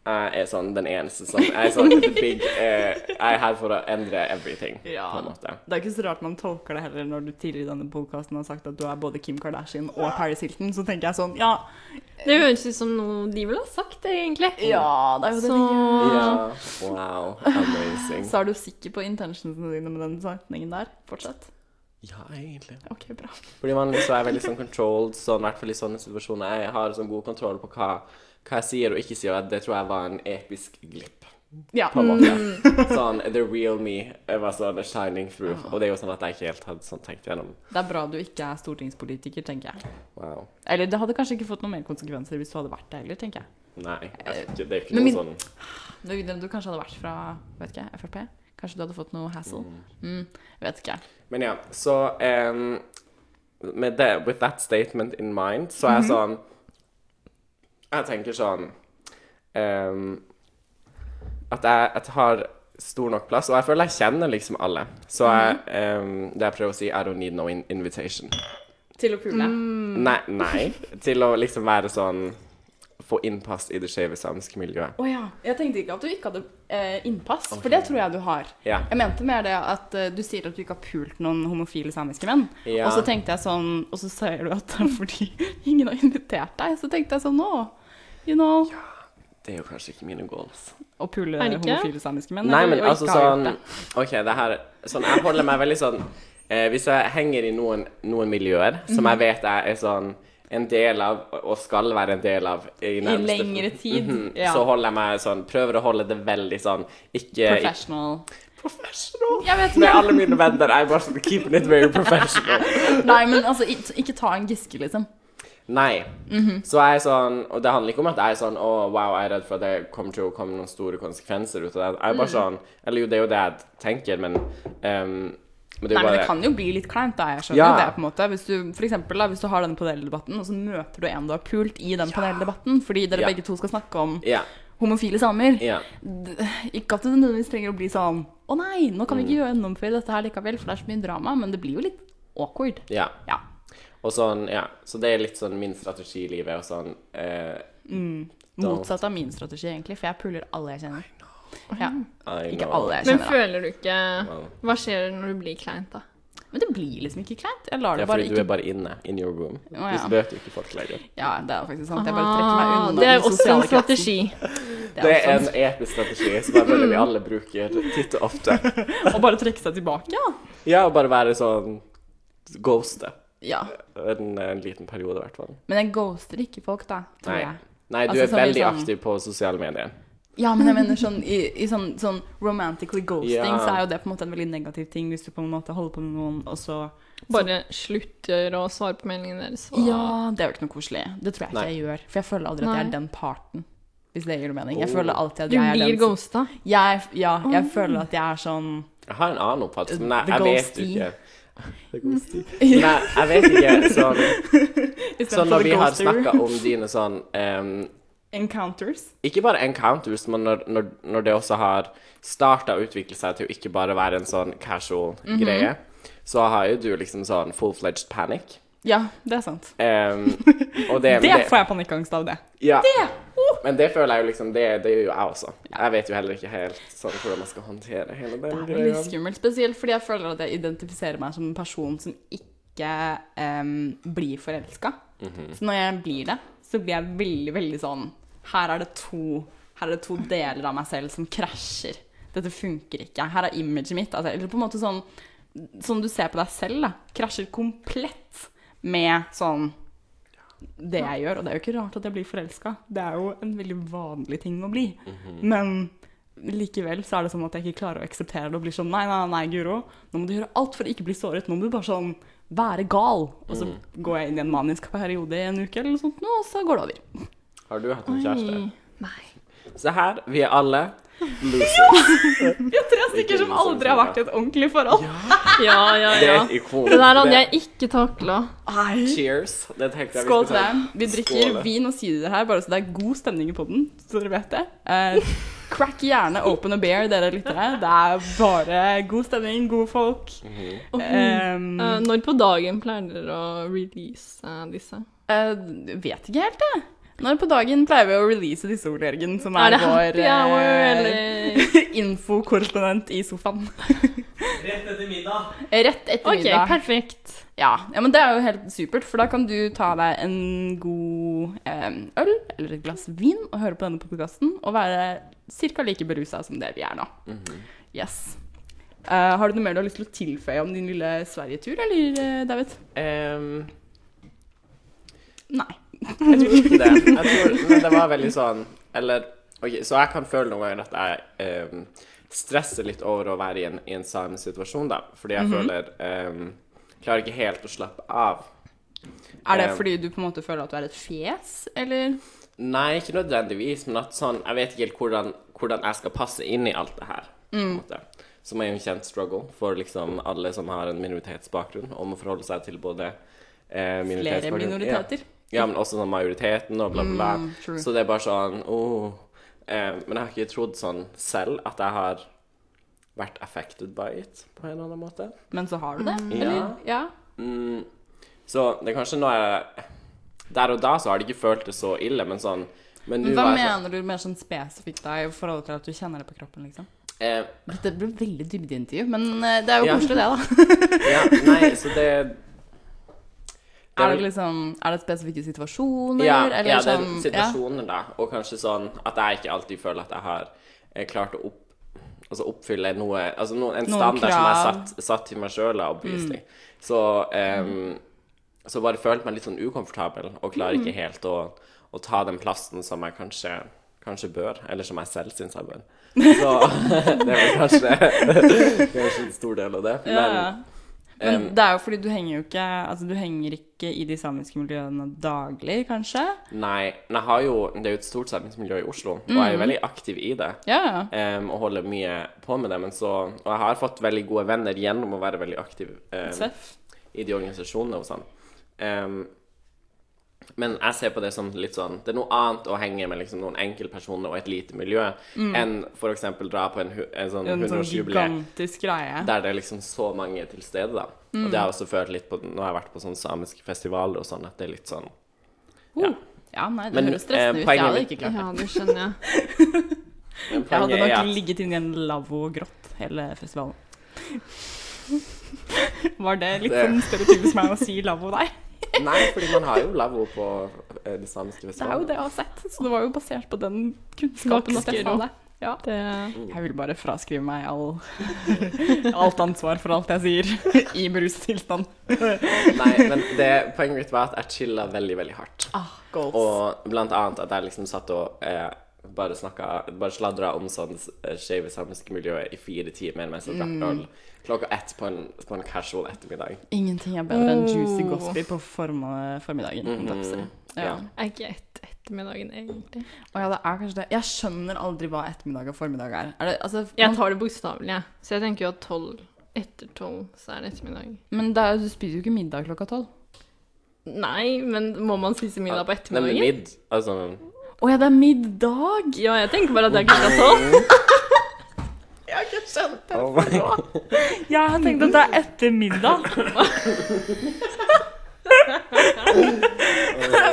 Speaker 2: Jeg er sånn den eneste som Jeg er sånn the big eh, Jeg er her for å endre everything,
Speaker 1: Ja.
Speaker 2: på en måte.
Speaker 1: Det er ikke så rart man tolker det heller når du tidligere i denne podkasten har sagt at du er både Kim Kardashian og Paris Hilton, så tenker jeg sånn Ja,
Speaker 3: Det høres ut som noe de ville ha sagt, egentlig.
Speaker 1: ja det er jo det
Speaker 3: Så
Speaker 1: vi gjør.
Speaker 2: Ja. Wow. Amazing.
Speaker 1: Så er du sikker på intentionsene dine med den setningen der? Fortsett.
Speaker 2: Ja, egentlig.
Speaker 1: Ok, bra.
Speaker 2: Fordi vanligvis så er jeg veldig sånn controlled, sånn, i hvert fall i sånne situasjoner. Jeg har sånn god kontroll på hva, hva jeg sier og ikke sier, og jeg- det tror jeg var en episk glipp.
Speaker 1: Ja.
Speaker 2: På en
Speaker 1: Mm.
Speaker 2: måte. Sånn the real me eh, var sånn shining through.
Speaker 1: Ah.
Speaker 2: Og det er jo sånn at jeg ikke helt hadde sånn tenkt gjennom.
Speaker 1: Det er bra du ikke er stortingspolitiker, tenker jeg.
Speaker 2: Wow.
Speaker 1: Eller det hadde kanskje ikke fått noen mer konsekvenser hvis du hadde vært det heller, tenker jeg.
Speaker 2: Nei, jeg, det er ikke
Speaker 1: Eh, Men
Speaker 2: noe
Speaker 1: min-
Speaker 2: sånn
Speaker 1: Du, du kanskje hadde vært fra vet ikke, Frp? Kanskje du hadde fått noe hassle? Mm, vet ikke.
Speaker 2: Men ja, så em, med det, With that statement in mind, så er jeg
Speaker 1: Mhm.
Speaker 2: sånn Jeg tenker sånn em, At jeg, jeg tar stor nok plass, og jeg føler jeg kjenner liksom alle. Så jeg,
Speaker 1: Mhm.
Speaker 2: em, det jeg prøver å si, I don't need no in invitation.
Speaker 1: Til å pule. Mm.
Speaker 2: Nei, nei. Til å liksom være sånn Få innpass i det skeive samiske miljøet.
Speaker 1: Å ja. Jeg tenkte ikke at du ikke hadde eh, innpass, for det tror jeg du har.
Speaker 2: Ja.
Speaker 1: Jeg mente mer det at eh, du sier at du ikke har pult noen homofile samiske menn.
Speaker 2: Ja.
Speaker 1: Og så tenkte jeg sånn, og så sier du at det er fordi ingen har invitert deg. Så tenkte jeg sånn nå, you know.
Speaker 2: Det er jo kanskje ikke mine goals.
Speaker 1: Å pule
Speaker 3: Er det ikke?
Speaker 1: homofile samiske menn.
Speaker 2: Nei,
Speaker 1: eller
Speaker 2: men
Speaker 1: å ikke
Speaker 2: altså
Speaker 1: ha gjort
Speaker 2: sånn
Speaker 1: det.
Speaker 2: OK, det her Sånn, jeg holder meg veldig sånn eh, Hvis jeg henger i noen, noen miljøer som
Speaker 1: Mhm.
Speaker 2: jeg vet jeg er sånn en del av, og skal være en del av i,
Speaker 1: I
Speaker 2: nærmeste-
Speaker 1: lengre tid.
Speaker 2: Mhm,
Speaker 1: ja.
Speaker 2: Så holder jeg meg sånn Prøver å holde det veldig sånn Ikke
Speaker 1: Professional.
Speaker 2: ikke- professional.
Speaker 1: Jeg vet
Speaker 2: Med
Speaker 1: ikke.
Speaker 2: alle mine venner. Jeg er bare sånn Keeping it very professional.
Speaker 1: Nei, men altså, ikke, ikke ta en giske, liksom.
Speaker 2: Nei.
Speaker 1: Mhm.
Speaker 2: Så jeg er sånn Og det handler ikke om at jeg er sånn Å, wow, jeg er redd for at det kommer til å komme noen store konsekvenser ut av det. Jeg er
Speaker 1: Mhm.
Speaker 2: bare sånn Eller jo, det er jo det jeg tenker, men ehm, Men det er
Speaker 1: Nei,
Speaker 2: jo
Speaker 1: men
Speaker 2: bare
Speaker 1: det kan jo bli litt kleint, da. Jeg skjønner
Speaker 2: Ja.
Speaker 1: jo det, på en måte. Hvis du, for eksempel, da, hvis du har denne paneldebatten, og så møter du en du har pult i den paneldebatten, fordi dere
Speaker 2: Ja.
Speaker 1: begge to skal snakke om
Speaker 2: Ja.
Speaker 1: homofile samer.
Speaker 2: ja.
Speaker 1: D- Ikke at det nødvendigvis trenger å bli sånn Å nei, nå kan vi
Speaker 2: Mm.
Speaker 1: ikke gjennomføre dette her likevel, for det er så mye drama. Men det blir jo litt awkward.
Speaker 2: ja.
Speaker 1: Ja.
Speaker 2: Og sånn, ja. Så det er litt sånn min strategi i livet, og sånn eh,
Speaker 1: Motsatt av min strategi, egentlig, for jeg puler alle jeg kjenner. Ja,
Speaker 2: I
Speaker 1: ikke
Speaker 2: know.
Speaker 1: alle jeg kjenner.
Speaker 3: Men
Speaker 1: da.
Speaker 3: føler du ikke
Speaker 2: Wow.
Speaker 3: Hva skjer når du blir kleint, da?
Speaker 1: Men det blir liksom ikke kleint. Jeg lar
Speaker 2: Ja,
Speaker 1: det
Speaker 2: fordi
Speaker 1: bare
Speaker 2: du
Speaker 1: ikke
Speaker 2: er bare inne. In your room.
Speaker 1: Å, ja.
Speaker 2: Du vet jo ikke folk lenger.
Speaker 1: Ja, det er faktisk sant. Jeg bare trekker meg
Speaker 3: Ah,
Speaker 1: unna
Speaker 3: det er
Speaker 1: den
Speaker 3: jo også
Speaker 1: sosiale kretsen.
Speaker 3: en strategi.
Speaker 1: Det
Speaker 2: Det
Speaker 1: er
Speaker 2: er
Speaker 1: også Mm.
Speaker 2: en episk strategi som jeg føler vi alle bruker titt og ofte.
Speaker 1: en... Å bare trekke seg tilbake, ja.
Speaker 2: Ja, å bare være sånn ghoste.
Speaker 1: ja.
Speaker 2: En, en liten periode, i hvert fall.
Speaker 1: Men jeg ghoster ikke folk, da, tror
Speaker 2: Nei.
Speaker 1: jeg.
Speaker 2: Nei, du
Speaker 1: Altså,
Speaker 2: er
Speaker 1: så blir
Speaker 2: veldig
Speaker 1: sånn-
Speaker 2: aktiv på sosiale medier.
Speaker 1: Ja, men jeg mener sånn i, i sånn, sånn romantically ghosting,
Speaker 2: Ja.
Speaker 1: så er jo det på en måte en veldig negativ ting hvis du på en måte holder på med noen, og så
Speaker 3: Bare slutter å svare på meldingene deres. og-
Speaker 1: Ja, det er jo ikke noe koselig. Det tror jeg ikke
Speaker 2: Nei.
Speaker 1: jeg gjør. For jeg føler aldri at jeg er
Speaker 3: Nei.
Speaker 1: den parten, hvis det gir noe mening. Jeg
Speaker 2: Oh.
Speaker 1: føler alltid
Speaker 3: Du
Speaker 1: at jeg er
Speaker 3: blir
Speaker 1: den som
Speaker 3: ghosta.
Speaker 1: jeg, Ja, jeg føler at jeg er sånn
Speaker 2: Jeg har en annen oppfattelse, men jeg,
Speaker 1: The
Speaker 2: jeg vet
Speaker 1: ghosty.
Speaker 2: ikke. The ghosty. Men jeg, jeg vet ikke sånn Sånn når vi har snakka om dine sånn em,
Speaker 1: Encounters.
Speaker 2: Ikke bare encounters, men når, når, når det også har starta å utvikle seg til å ikke bare være en sånn casual
Speaker 1: Mhm.
Speaker 2: greie, så har jo du liksom sånn full-fledged panic.
Speaker 1: Ja, det er sant.
Speaker 2: Em, og det,
Speaker 1: Det får jeg panikkangst av, det. Uh!
Speaker 2: ja. Men det føler jeg jo liksom Det, det gjør jo jeg også. Jeg vet jo heller ikke helt sånn hvordan man skal håndtere hele
Speaker 1: Det
Speaker 2: den
Speaker 1: er veldig
Speaker 2: greia.
Speaker 1: skummelt, spesielt fordi jeg føler at jeg identifiserer meg som en person som ikke em, blir forelska. Så når jeg blir det, så blir jeg veldig, veldig sånn Her er det to, her er det to deler av meg selv som krasjer. Dette funker ikke. Her er imaget mitt. Altså, eller på en måte sånn Som du ser på deg selv, da. Krasjer komplett med sånn det jeg gjør, og det er jo ikke rart at jeg blir forelska. Det er jo en veldig vanlig ting å bli.
Speaker 2: Mm.
Speaker 1: Men likevel så er det sånn at jeg ikke klarer å akseptere det og blir sånn Nei, nei, nei, Guro. Nå må du gjøre alt for å ikke bli såret. Nå må du bare sånn være gal. Og
Speaker 2: Mm.
Speaker 1: så går jeg inn i en manisk periode i en uke eller noe sånt, nå, og så går det over.
Speaker 2: Har du hatt en kjæreste?
Speaker 3: Oi. Nei.
Speaker 2: Se her, vi er alle losers.
Speaker 1: Vi har tre
Speaker 2: stykker sånn som aldri har vært
Speaker 1: i et ordentlig forhold.
Speaker 3: Ja, ja,
Speaker 2: Det er
Speaker 3: ja.
Speaker 2: et ikon.
Speaker 3: Det der hadde jeg ikke takla.
Speaker 1: Nei.
Speaker 2: Cheers. Det tenkte jeg vi
Speaker 1: Skål til
Speaker 2: skulle ta.
Speaker 1: dem. Vi drikker
Speaker 2: Skål.
Speaker 1: vin og sider her, bare så det er god stemning i poden, så dere vet det. Eh, crack gjerne open a beer, dere lyttere. Det er bare god stemning, gode folk.
Speaker 2: Mhm, mm.
Speaker 1: Um,
Speaker 3: Eh, når på dagen pleier dere å release eh, disse?
Speaker 1: Eh, vet ikke helt, jeg. Når på dagen pleier vi å release disse ordene, Jørgen, som
Speaker 3: Er
Speaker 1: er,
Speaker 3: det happy hour,
Speaker 1: vår
Speaker 3: eller
Speaker 1: uh, infokorrespondent i sofaen.
Speaker 4: Rett etter middag.
Speaker 1: Rett etter
Speaker 3: OK,
Speaker 1: middag.
Speaker 3: perfekt.
Speaker 1: Ja. ja, men det er jo helt supert, for da kan du ta deg en god eh, øl eller et glass vin og høre på denne podkasten og være ca. like berusa som det vi er nå.
Speaker 2: mhm.
Speaker 1: Yes. Eh, har du noe mer du har lyst til å tilføye om din lille Sverigetur, eller, eh, David?
Speaker 2: Ehm,
Speaker 1: Nei.
Speaker 2: jeg tror ikke det. Jeg tror, men det var veldig sånn Eller ok, Så jeg kan føle noen ganger at jeg ehm, stresser litt over å være i en, i en samisk situasjon, da. Fordi
Speaker 3: Mhm.
Speaker 2: jeg føler ehm, Klarer ikke helt å slappe av.
Speaker 1: Er det
Speaker 2: Eh,
Speaker 1: fordi du på en måte føler at du er et fjes, eller?
Speaker 2: Nei, ikke nødvendigvis, men at sånn Jeg vet ikke helt hvordan, hvordan jeg skal passe inn i alt det her. på
Speaker 1: Mm.
Speaker 2: en måte. Som er jo en kjent struggle for liksom alle som har en minoritetsbakgrunn, om å forholde seg til både
Speaker 1: Flere
Speaker 2: eh, minoritetsbakgrunn-
Speaker 1: minoriteter?
Speaker 2: Ja. ja, men også sånn majoriteten og bla, bla, bla.
Speaker 1: Mm, true.
Speaker 2: Så det er bare sånn åh. Eh, men jeg har ikke trodd sånn selv at jeg har vært affected by it på en eller annen måte.
Speaker 1: Men så har du det,
Speaker 2: Ja.
Speaker 1: eller? Ja.
Speaker 2: Mm, så det er kanskje noe jeg Der og da så har det ikke følt det så ille, men sånn men nå
Speaker 1: Hva
Speaker 2: var jeg sånn-
Speaker 1: mener du mer sånn spesifikt da, i forhold til at du kjenner det på kroppen, liksom?
Speaker 2: Eh,
Speaker 1: Dette ble veldig dybdeintervju, men eh, det er jo
Speaker 2: Ja.
Speaker 1: koselig det, da.
Speaker 2: Ja, nei, så det det
Speaker 1: Er
Speaker 2: vel-
Speaker 1: det liksom Er det spesifikke situasjoner,
Speaker 2: ja,
Speaker 1: eller
Speaker 2: ja, det er
Speaker 1: sånn
Speaker 2: situasjoner, da. Og kanskje sånn at jeg ikke alltid føler at jeg har eh, klart å opp, altså oppfylle noe Altså noen, en
Speaker 1: Noen
Speaker 2: standard som jeg
Speaker 1: krav. Mm.
Speaker 2: satt, satt til meg sjøl, obviously. Så ehm, Så bare følte meg litt sånn ukomfortabel, og klarer
Speaker 1: Mm.
Speaker 2: ikke helt å, å ta den plassen som jeg kanskje Kanskje bør, eller som jeg selv syns jeg bør. Så det er vel kanskje, kanskje en stor del av det.
Speaker 1: Ja.
Speaker 2: Men
Speaker 1: ja, ja. Men det er jo fordi du henger jo ikke Altså, du henger ikke i de samiske miljøene daglig, kanskje?
Speaker 2: Nei, men jeg har jo, det er jo et stort samlingsmiljø i Oslo, og
Speaker 1: Mm.
Speaker 2: jeg er jo veldig aktiv i det.
Speaker 1: Ja, ja.
Speaker 2: em, og holder mye på med det. Men så, og jeg har fått veldig gode venner gjennom å være veldig aktiv em,
Speaker 1: Seff.
Speaker 2: i de organisasjonene og sånn. Em, men jeg ser på det som litt sånn Det er noe annet å henge med liksom, noen enkeltpersoner og et lite miljø enn for eksempel dra på en, hu- en sånn
Speaker 1: Mm. En sånn
Speaker 2: 100-årsjubileum
Speaker 1: gigantisk greie.
Speaker 2: der det er liksom så mange til stede, da. Og
Speaker 1: Mm.
Speaker 2: det har jeg også følt litt på Nå har jeg vært på sånne samiske festivaler og sånn, at det er litt sånn
Speaker 1: Oh. Ja, nei, det
Speaker 2: Men,
Speaker 1: høres stressende
Speaker 2: eh,
Speaker 1: ut. Jeg
Speaker 2: poenget
Speaker 1: hadde
Speaker 2: mitt-
Speaker 1: ikke klart det.
Speaker 3: Ja, det skjønner jeg.
Speaker 1: Jeg
Speaker 2: Poenget
Speaker 1: hadde
Speaker 2: er
Speaker 1: nok
Speaker 2: at-
Speaker 1: ligget inne i en lavvo og grått hele festivalen. Var det litt
Speaker 2: Det-
Speaker 1: sånn stereotypisk meg å si lavvo der?
Speaker 2: Nei, fordi man har jo lavvo på eh, det samiske
Speaker 1: Det er jo
Speaker 2: festivalet.
Speaker 1: det jeg har sett, så det var jo basert på den kunnskapen at jeg
Speaker 3: Vasker
Speaker 1: sa
Speaker 3: opp.
Speaker 1: det. Ja.
Speaker 3: Det...
Speaker 1: Jeg vil bare fraskrive meg all, alt ansvar for alt jeg sier i brustilstand.
Speaker 2: Mm. Nei, men det, poenget mitt var at jeg chilla veldig, veldig hardt.
Speaker 1: Ah, goals.
Speaker 2: Og blant annet at jeg liksom satt og eh, bare snakka Bare sladra om sånn eh, skeive samiske miljøet i fire timer mens jeg
Speaker 1: Mm.
Speaker 2: drakk øl. Klokka ett på en, på en casual ettermiddag.
Speaker 1: Ingenting er bedre enn juicy
Speaker 3: Oh.
Speaker 1: gossip på form- formiddagen.
Speaker 2: Mhm.
Speaker 1: dagsrevyen.
Speaker 2: Ja.
Speaker 1: Ja.
Speaker 3: Er ikke et ettermiddagen, egentlig.
Speaker 1: Å ja, det er kanskje det. Jeg skjønner aldri hva ettermiddag og formiddag er. er det, altså,
Speaker 3: Jeg
Speaker 1: man,
Speaker 3: tar det bokstavelig, jeg. Så jeg tenker jo at tolv etter tolv, så er det ettermiddag.
Speaker 1: men det er, du spiser jo ikke middag klokka tolv.
Speaker 3: Nei, men må man spise middag på
Speaker 2: Nei, men
Speaker 3: ettermiddagen?
Speaker 2: midd. Altså
Speaker 1: Å ja, det er middag!
Speaker 3: Ja, jeg tenker bare at det er klokka tolv.
Speaker 1: Jeg har ikke skjønt det.
Speaker 2: oh my.
Speaker 1: Jeg har tenkt at det er etter middag.
Speaker 2: Mm.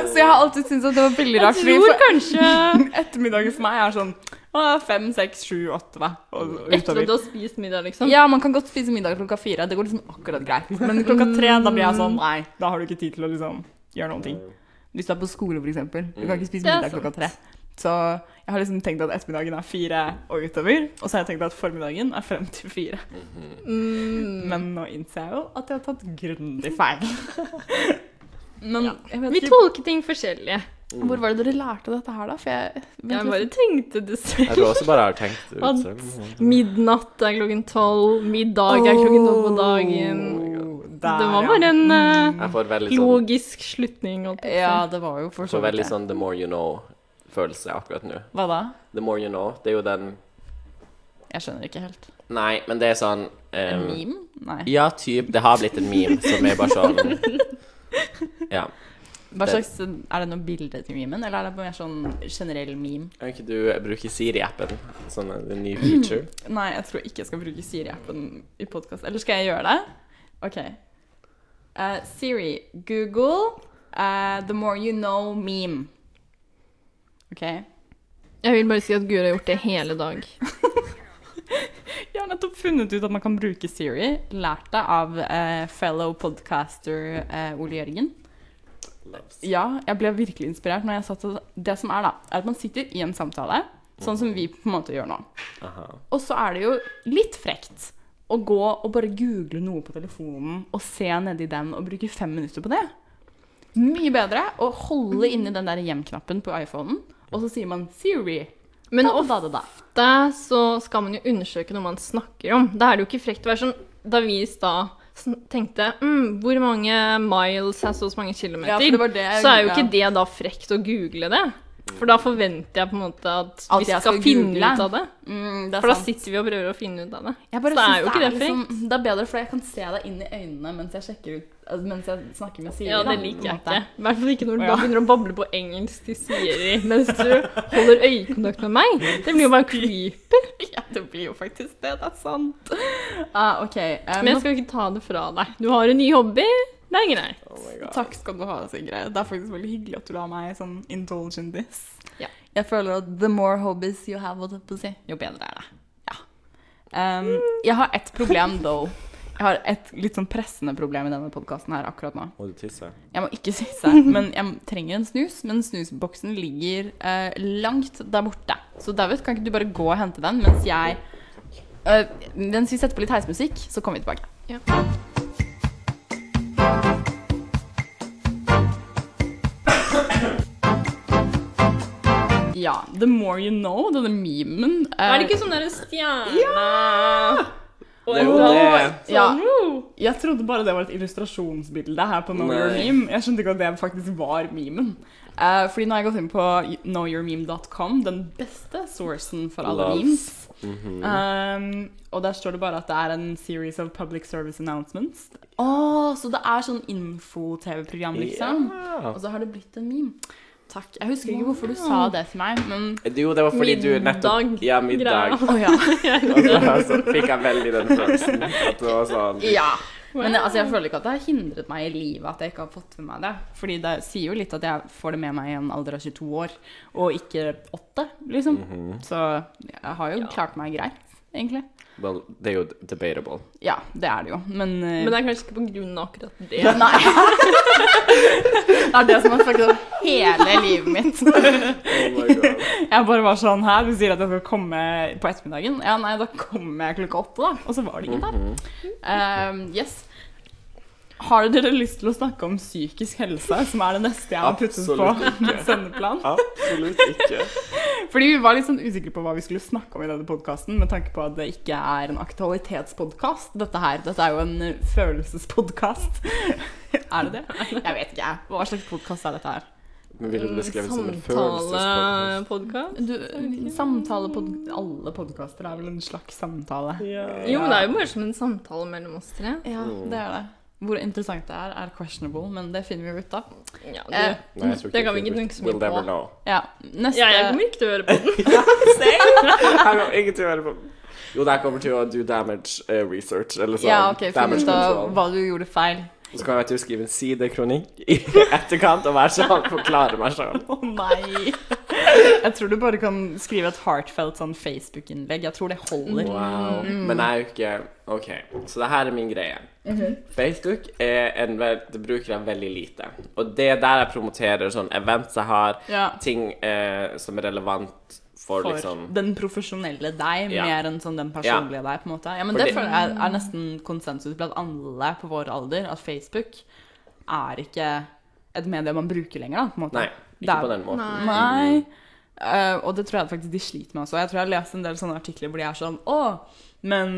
Speaker 1: Så jeg har alltid syntes at det var veldig
Speaker 3: Jeg
Speaker 1: rart. fordi
Speaker 3: tror
Speaker 1: for-
Speaker 3: kanskje
Speaker 1: Ettermiddagen for meg er sånn å, fem, seks, sju, åtte, hva? Og
Speaker 3: etter at
Speaker 1: utover.
Speaker 3: du har spist middag, liksom.
Speaker 1: sånn. Ja, man kan godt spise middag klokka fire. Det går liksom akkurat greit. Men klokka tre, da blir jeg sånn Nei, da har du ikke tid til å liksom gjøre noen ting. Hvis du er på skole, for eksempel. Du kan ikke spise
Speaker 3: Det er
Speaker 1: middag klokka tre. Så jeg har liksom tenkt at ettermiddagen er fire og utover. Og så har jeg tenkt at formiddagen er frem til fire.
Speaker 2: Mm-hmm.
Speaker 3: Mm.
Speaker 1: Men nå innser jeg jo at jeg har tatt grundig feil. Men
Speaker 3: Ja.
Speaker 1: jeg
Speaker 3: Vi
Speaker 1: vet ikke
Speaker 3: tolker ting forskjellig.
Speaker 1: Hvor var det dere lærte dette her, da? For jeg
Speaker 3: Jeg bare tenkte det
Speaker 2: Jeg
Speaker 3: selv.
Speaker 2: tror også bare jeg har tenkt det ut sånn.
Speaker 3: At-
Speaker 2: selv.
Speaker 3: Midnatt er klokken tolv, middag er klokken tolv på dagen. Det var bare en eh,
Speaker 1: Mm.
Speaker 2: Jeg får veldig sånn,
Speaker 3: logisk slutning. holdt jeg på å si.
Speaker 1: Ja, det var jo for så
Speaker 2: får
Speaker 1: vidt
Speaker 2: veldig
Speaker 1: det.
Speaker 2: sånn the more you know-følelse akkurat nå.
Speaker 1: Hva da?
Speaker 2: The more you know, det er jo den
Speaker 1: Jeg skjønner ikke helt.
Speaker 2: Nei, men det er sånn
Speaker 1: En
Speaker 2: ehm,
Speaker 1: meme? Nei.
Speaker 2: Ja, typ. Det har blitt en meme som er bare sånn Ja.
Speaker 1: Hva
Speaker 2: det-
Speaker 1: slags, er det noe bilde til memen, eller er det mer sånn generell meme?
Speaker 2: Kan ikke du bruke Siri-appen Sånn, som en en ny feature?
Speaker 1: Nei, jeg tror ikke jeg skal bruke Siri-appen i podkast. Eller skal jeg gjøre det? OK. Eh, Siri, Google eh, The More You Know meme. OK. Jeg
Speaker 3: Jeg vil bare si at Guri har gjort det hele dag.
Speaker 1: har nettopp funnet ut at man kan bruke Siri. Lært det av eh, fellow podcaster eh, Ole Jørgen. Ja, jeg ble virkelig inspirert når jeg satt og Det som er, da, er at man sitter i en samtale, sånn som vi på en måte gjør nå.
Speaker 2: Aha.
Speaker 1: Og så er det jo litt frekt å gå og bare google noe på telefonen og se nedi den og bruke fem minutter på det. Mye bedre å holde inni den der hjem-knappen på iPhonen, og så sier man Siri.
Speaker 3: Men
Speaker 1: da, da, da, da.
Speaker 3: ofte så skal man jo undersøke noe man snakker om. Da er det jo ikke frekt å være sånn Da vi i stad sn- tenkte mm, Hvor mange miles er så og så mange kilometer?
Speaker 1: Ja, for det var det jeg-
Speaker 3: så er jo ikke
Speaker 1: ja.
Speaker 3: det da frekt å google det. For da forventer jeg på en måte at,
Speaker 1: At
Speaker 3: vi
Speaker 1: jeg
Speaker 3: skal,
Speaker 1: skal
Speaker 3: finne
Speaker 1: google.
Speaker 3: ut av det.
Speaker 1: Mm, det er
Speaker 3: For da
Speaker 1: sant.
Speaker 3: sitter vi og prøver å finne ut av det.
Speaker 1: Jeg bare
Speaker 3: så det
Speaker 1: synes
Speaker 3: er jo ikke det
Speaker 1: er
Speaker 3: frekt.
Speaker 1: liksom- det er bedre, for jeg kan se deg inn i øynene mens jeg, sjekker ut, altså, mens jeg snakker med Siri.
Speaker 3: Ja,
Speaker 1: da,
Speaker 3: det
Speaker 1: på en
Speaker 3: liker jeg
Speaker 1: måte.
Speaker 3: ikke. I hvert fall ikke når du
Speaker 1: Å,
Speaker 3: da
Speaker 1: ja.
Speaker 3: begynner å bable på engelsk til Siri mens du holder øyekontakt med meg. Det blir jo bare creepy.
Speaker 1: Ja, det blir jo faktisk det. Det er sant. Ah, ok. eh,
Speaker 3: Men
Speaker 1: nå-
Speaker 3: jeg skal ikke ta det fra deg. Du har en ny hobby. Det er greit.
Speaker 2: Oh my god.
Speaker 1: Takk skal du ha, Sigrid. Det er faktisk veldig hyggelig at du la meg sånn indulge in this.
Speaker 3: Ja.
Speaker 1: Jeg føler at the more hobbies you have, holdt jeg på å si, jo bedre er det. Ja. Um, jeg har et problem, though. Jeg har et litt sånn pressende problem i denne podkasten her akkurat nå.
Speaker 2: Må du tisse?
Speaker 1: Jeg må ikke sisse, men jeg trenger en snus. Men snusboksen ligger eh, langt der borte. Så David, kan ikke du bare gå og hente den mens jeg eh, Mens vi setter på litt heismusikk, så kommer vi tilbake.
Speaker 3: Ja.
Speaker 1: Ja, The More You Know, denne memen
Speaker 3: Er
Speaker 1: eh,
Speaker 3: det ikke sånn derre stjerne og
Speaker 2: Det er
Speaker 3: en
Speaker 2: jo
Speaker 3: rad?
Speaker 2: det.
Speaker 1: Ja.
Speaker 3: Sånn, oh.
Speaker 1: Jeg trodde bare det var et illustrasjonsbilde her på Know Your
Speaker 2: Nei.
Speaker 1: Meme. Jeg skjønte ikke at det faktisk var memen. Eh, fordi nå har jeg gått inn på knowyourmeme.com, den beste sourcen for alle
Speaker 2: Loves.
Speaker 1: memes.
Speaker 2: Mhm. Mm.
Speaker 1: um, og der står det bare at det er en series of public service announcements. Å, så det er sånn info-TV-program, liksom?
Speaker 2: Ja.
Speaker 1: Og så har det blitt en meme. Takk. Jeg husker ikke hvorfor du sa det til meg, men
Speaker 2: Jo, det var fordi du nettopp
Speaker 3: Middag.
Speaker 2: Ja, middag.
Speaker 1: Å ja.
Speaker 2: Og så, så fikk jeg veldig den følelsen. At det var sånn
Speaker 1: Ja. Men altså, jeg føler ikke at det har hindret meg i livet at jeg ikke har fått med meg det. Fordi det sier jo litt at jeg får det med meg i en alder av
Speaker 2: Mm. Mhm.
Speaker 1: 22 år, og ikke 8, liksom. Så jeg har jo klart meg greit. egentlig.
Speaker 2: Well, det er jo debatable.
Speaker 1: Ja, det er det jo, men, eh,
Speaker 3: Men det er kanskje ikke på grunn av akkurat det.
Speaker 1: Nei. Det er det som har fucket opp hele livet mitt.
Speaker 2: Oh my god.
Speaker 1: Jeg bare var sånn her, du sier at jeg skal komme på ettermiddagen. Ja, nei, da kommer jeg klokka åtte, da. Og så var det
Speaker 2: Mm.
Speaker 1: ingen der.
Speaker 2: Mhm.
Speaker 1: Ehm, yes. Har dere lyst til å snakke om psykisk helse, som er det neste jeg har puttet
Speaker 2: Absolutt
Speaker 1: på
Speaker 2: ikke.
Speaker 1: sendeplan?
Speaker 2: Absolutt ikke.
Speaker 1: Fordi vi var litt sånn usikre på hva vi skulle snakke om i denne podkasten, med tanke på at det ikke er en aktualitetspodkast, dette her. Dette er jo en eh, følelsespodkast. er det det? Jeg vet ikke, jeg. Hva slags podkast er dette her?
Speaker 2: Men ville du beskrevet det som en følelsespodkast?
Speaker 3: Samtalepodkast?
Speaker 1: Du, samtalepod- Alle podkaster er vel en slags samtale?
Speaker 3: Jo, men det er jo bare som en samtale mellom oss tre.
Speaker 1: Ja, det er det. Hvor interessant det er, er questionable, men det finner vi ut av.
Speaker 3: Ja, det,
Speaker 1: Eh,
Speaker 2: Nei, jeg tror
Speaker 3: Det kan vi ikke tenke så mye
Speaker 2: We'll never
Speaker 3: på.
Speaker 2: know.
Speaker 1: Ja, neste
Speaker 3: ja, jeg kommer ikke til å høre på den.
Speaker 2: Jeg har ingenting å høre på. Jo, det her kommer til å do damage eh, research, eller sånn.
Speaker 1: Ja, ok, finn
Speaker 2: damage
Speaker 1: ut av
Speaker 2: control.
Speaker 1: hva du gjorde feil.
Speaker 2: Og Så kan jeg vet du, skrive en sidekronikk i etterkant og være sånn, forklare meg sånn.
Speaker 1: Å nei! Jeg tror du bare kan skrive et heartfelt sånn Facebook-innlegg. Jeg tror det holder.
Speaker 2: Wow. Men jeg er jo ikke OK, så det her er min greie. Facebook er en vel, det bruker jeg veldig lite. Og det er der jeg promoterer sånn events jeg har,
Speaker 1: Ja.
Speaker 2: ting eh, som er relevant for,
Speaker 1: For
Speaker 2: liksom
Speaker 1: den profesjonelle deg,
Speaker 2: Ja.
Speaker 1: mer enn sånn den personlige deg, på en måte. Ja, men
Speaker 2: Fordi-
Speaker 1: det føler jeg er nesten konsensus blant alle på vår alder, at Facebook er ikke et medie man bruker lenger, da, på en måte.
Speaker 2: Nei,
Speaker 1: Det
Speaker 2: ikke
Speaker 1: er-
Speaker 2: på den måten.
Speaker 1: Nei. Eh, og det tror jeg faktisk de sliter med også. Jeg tror jeg har lest en del sånne artikler hvor de er sånn Å, men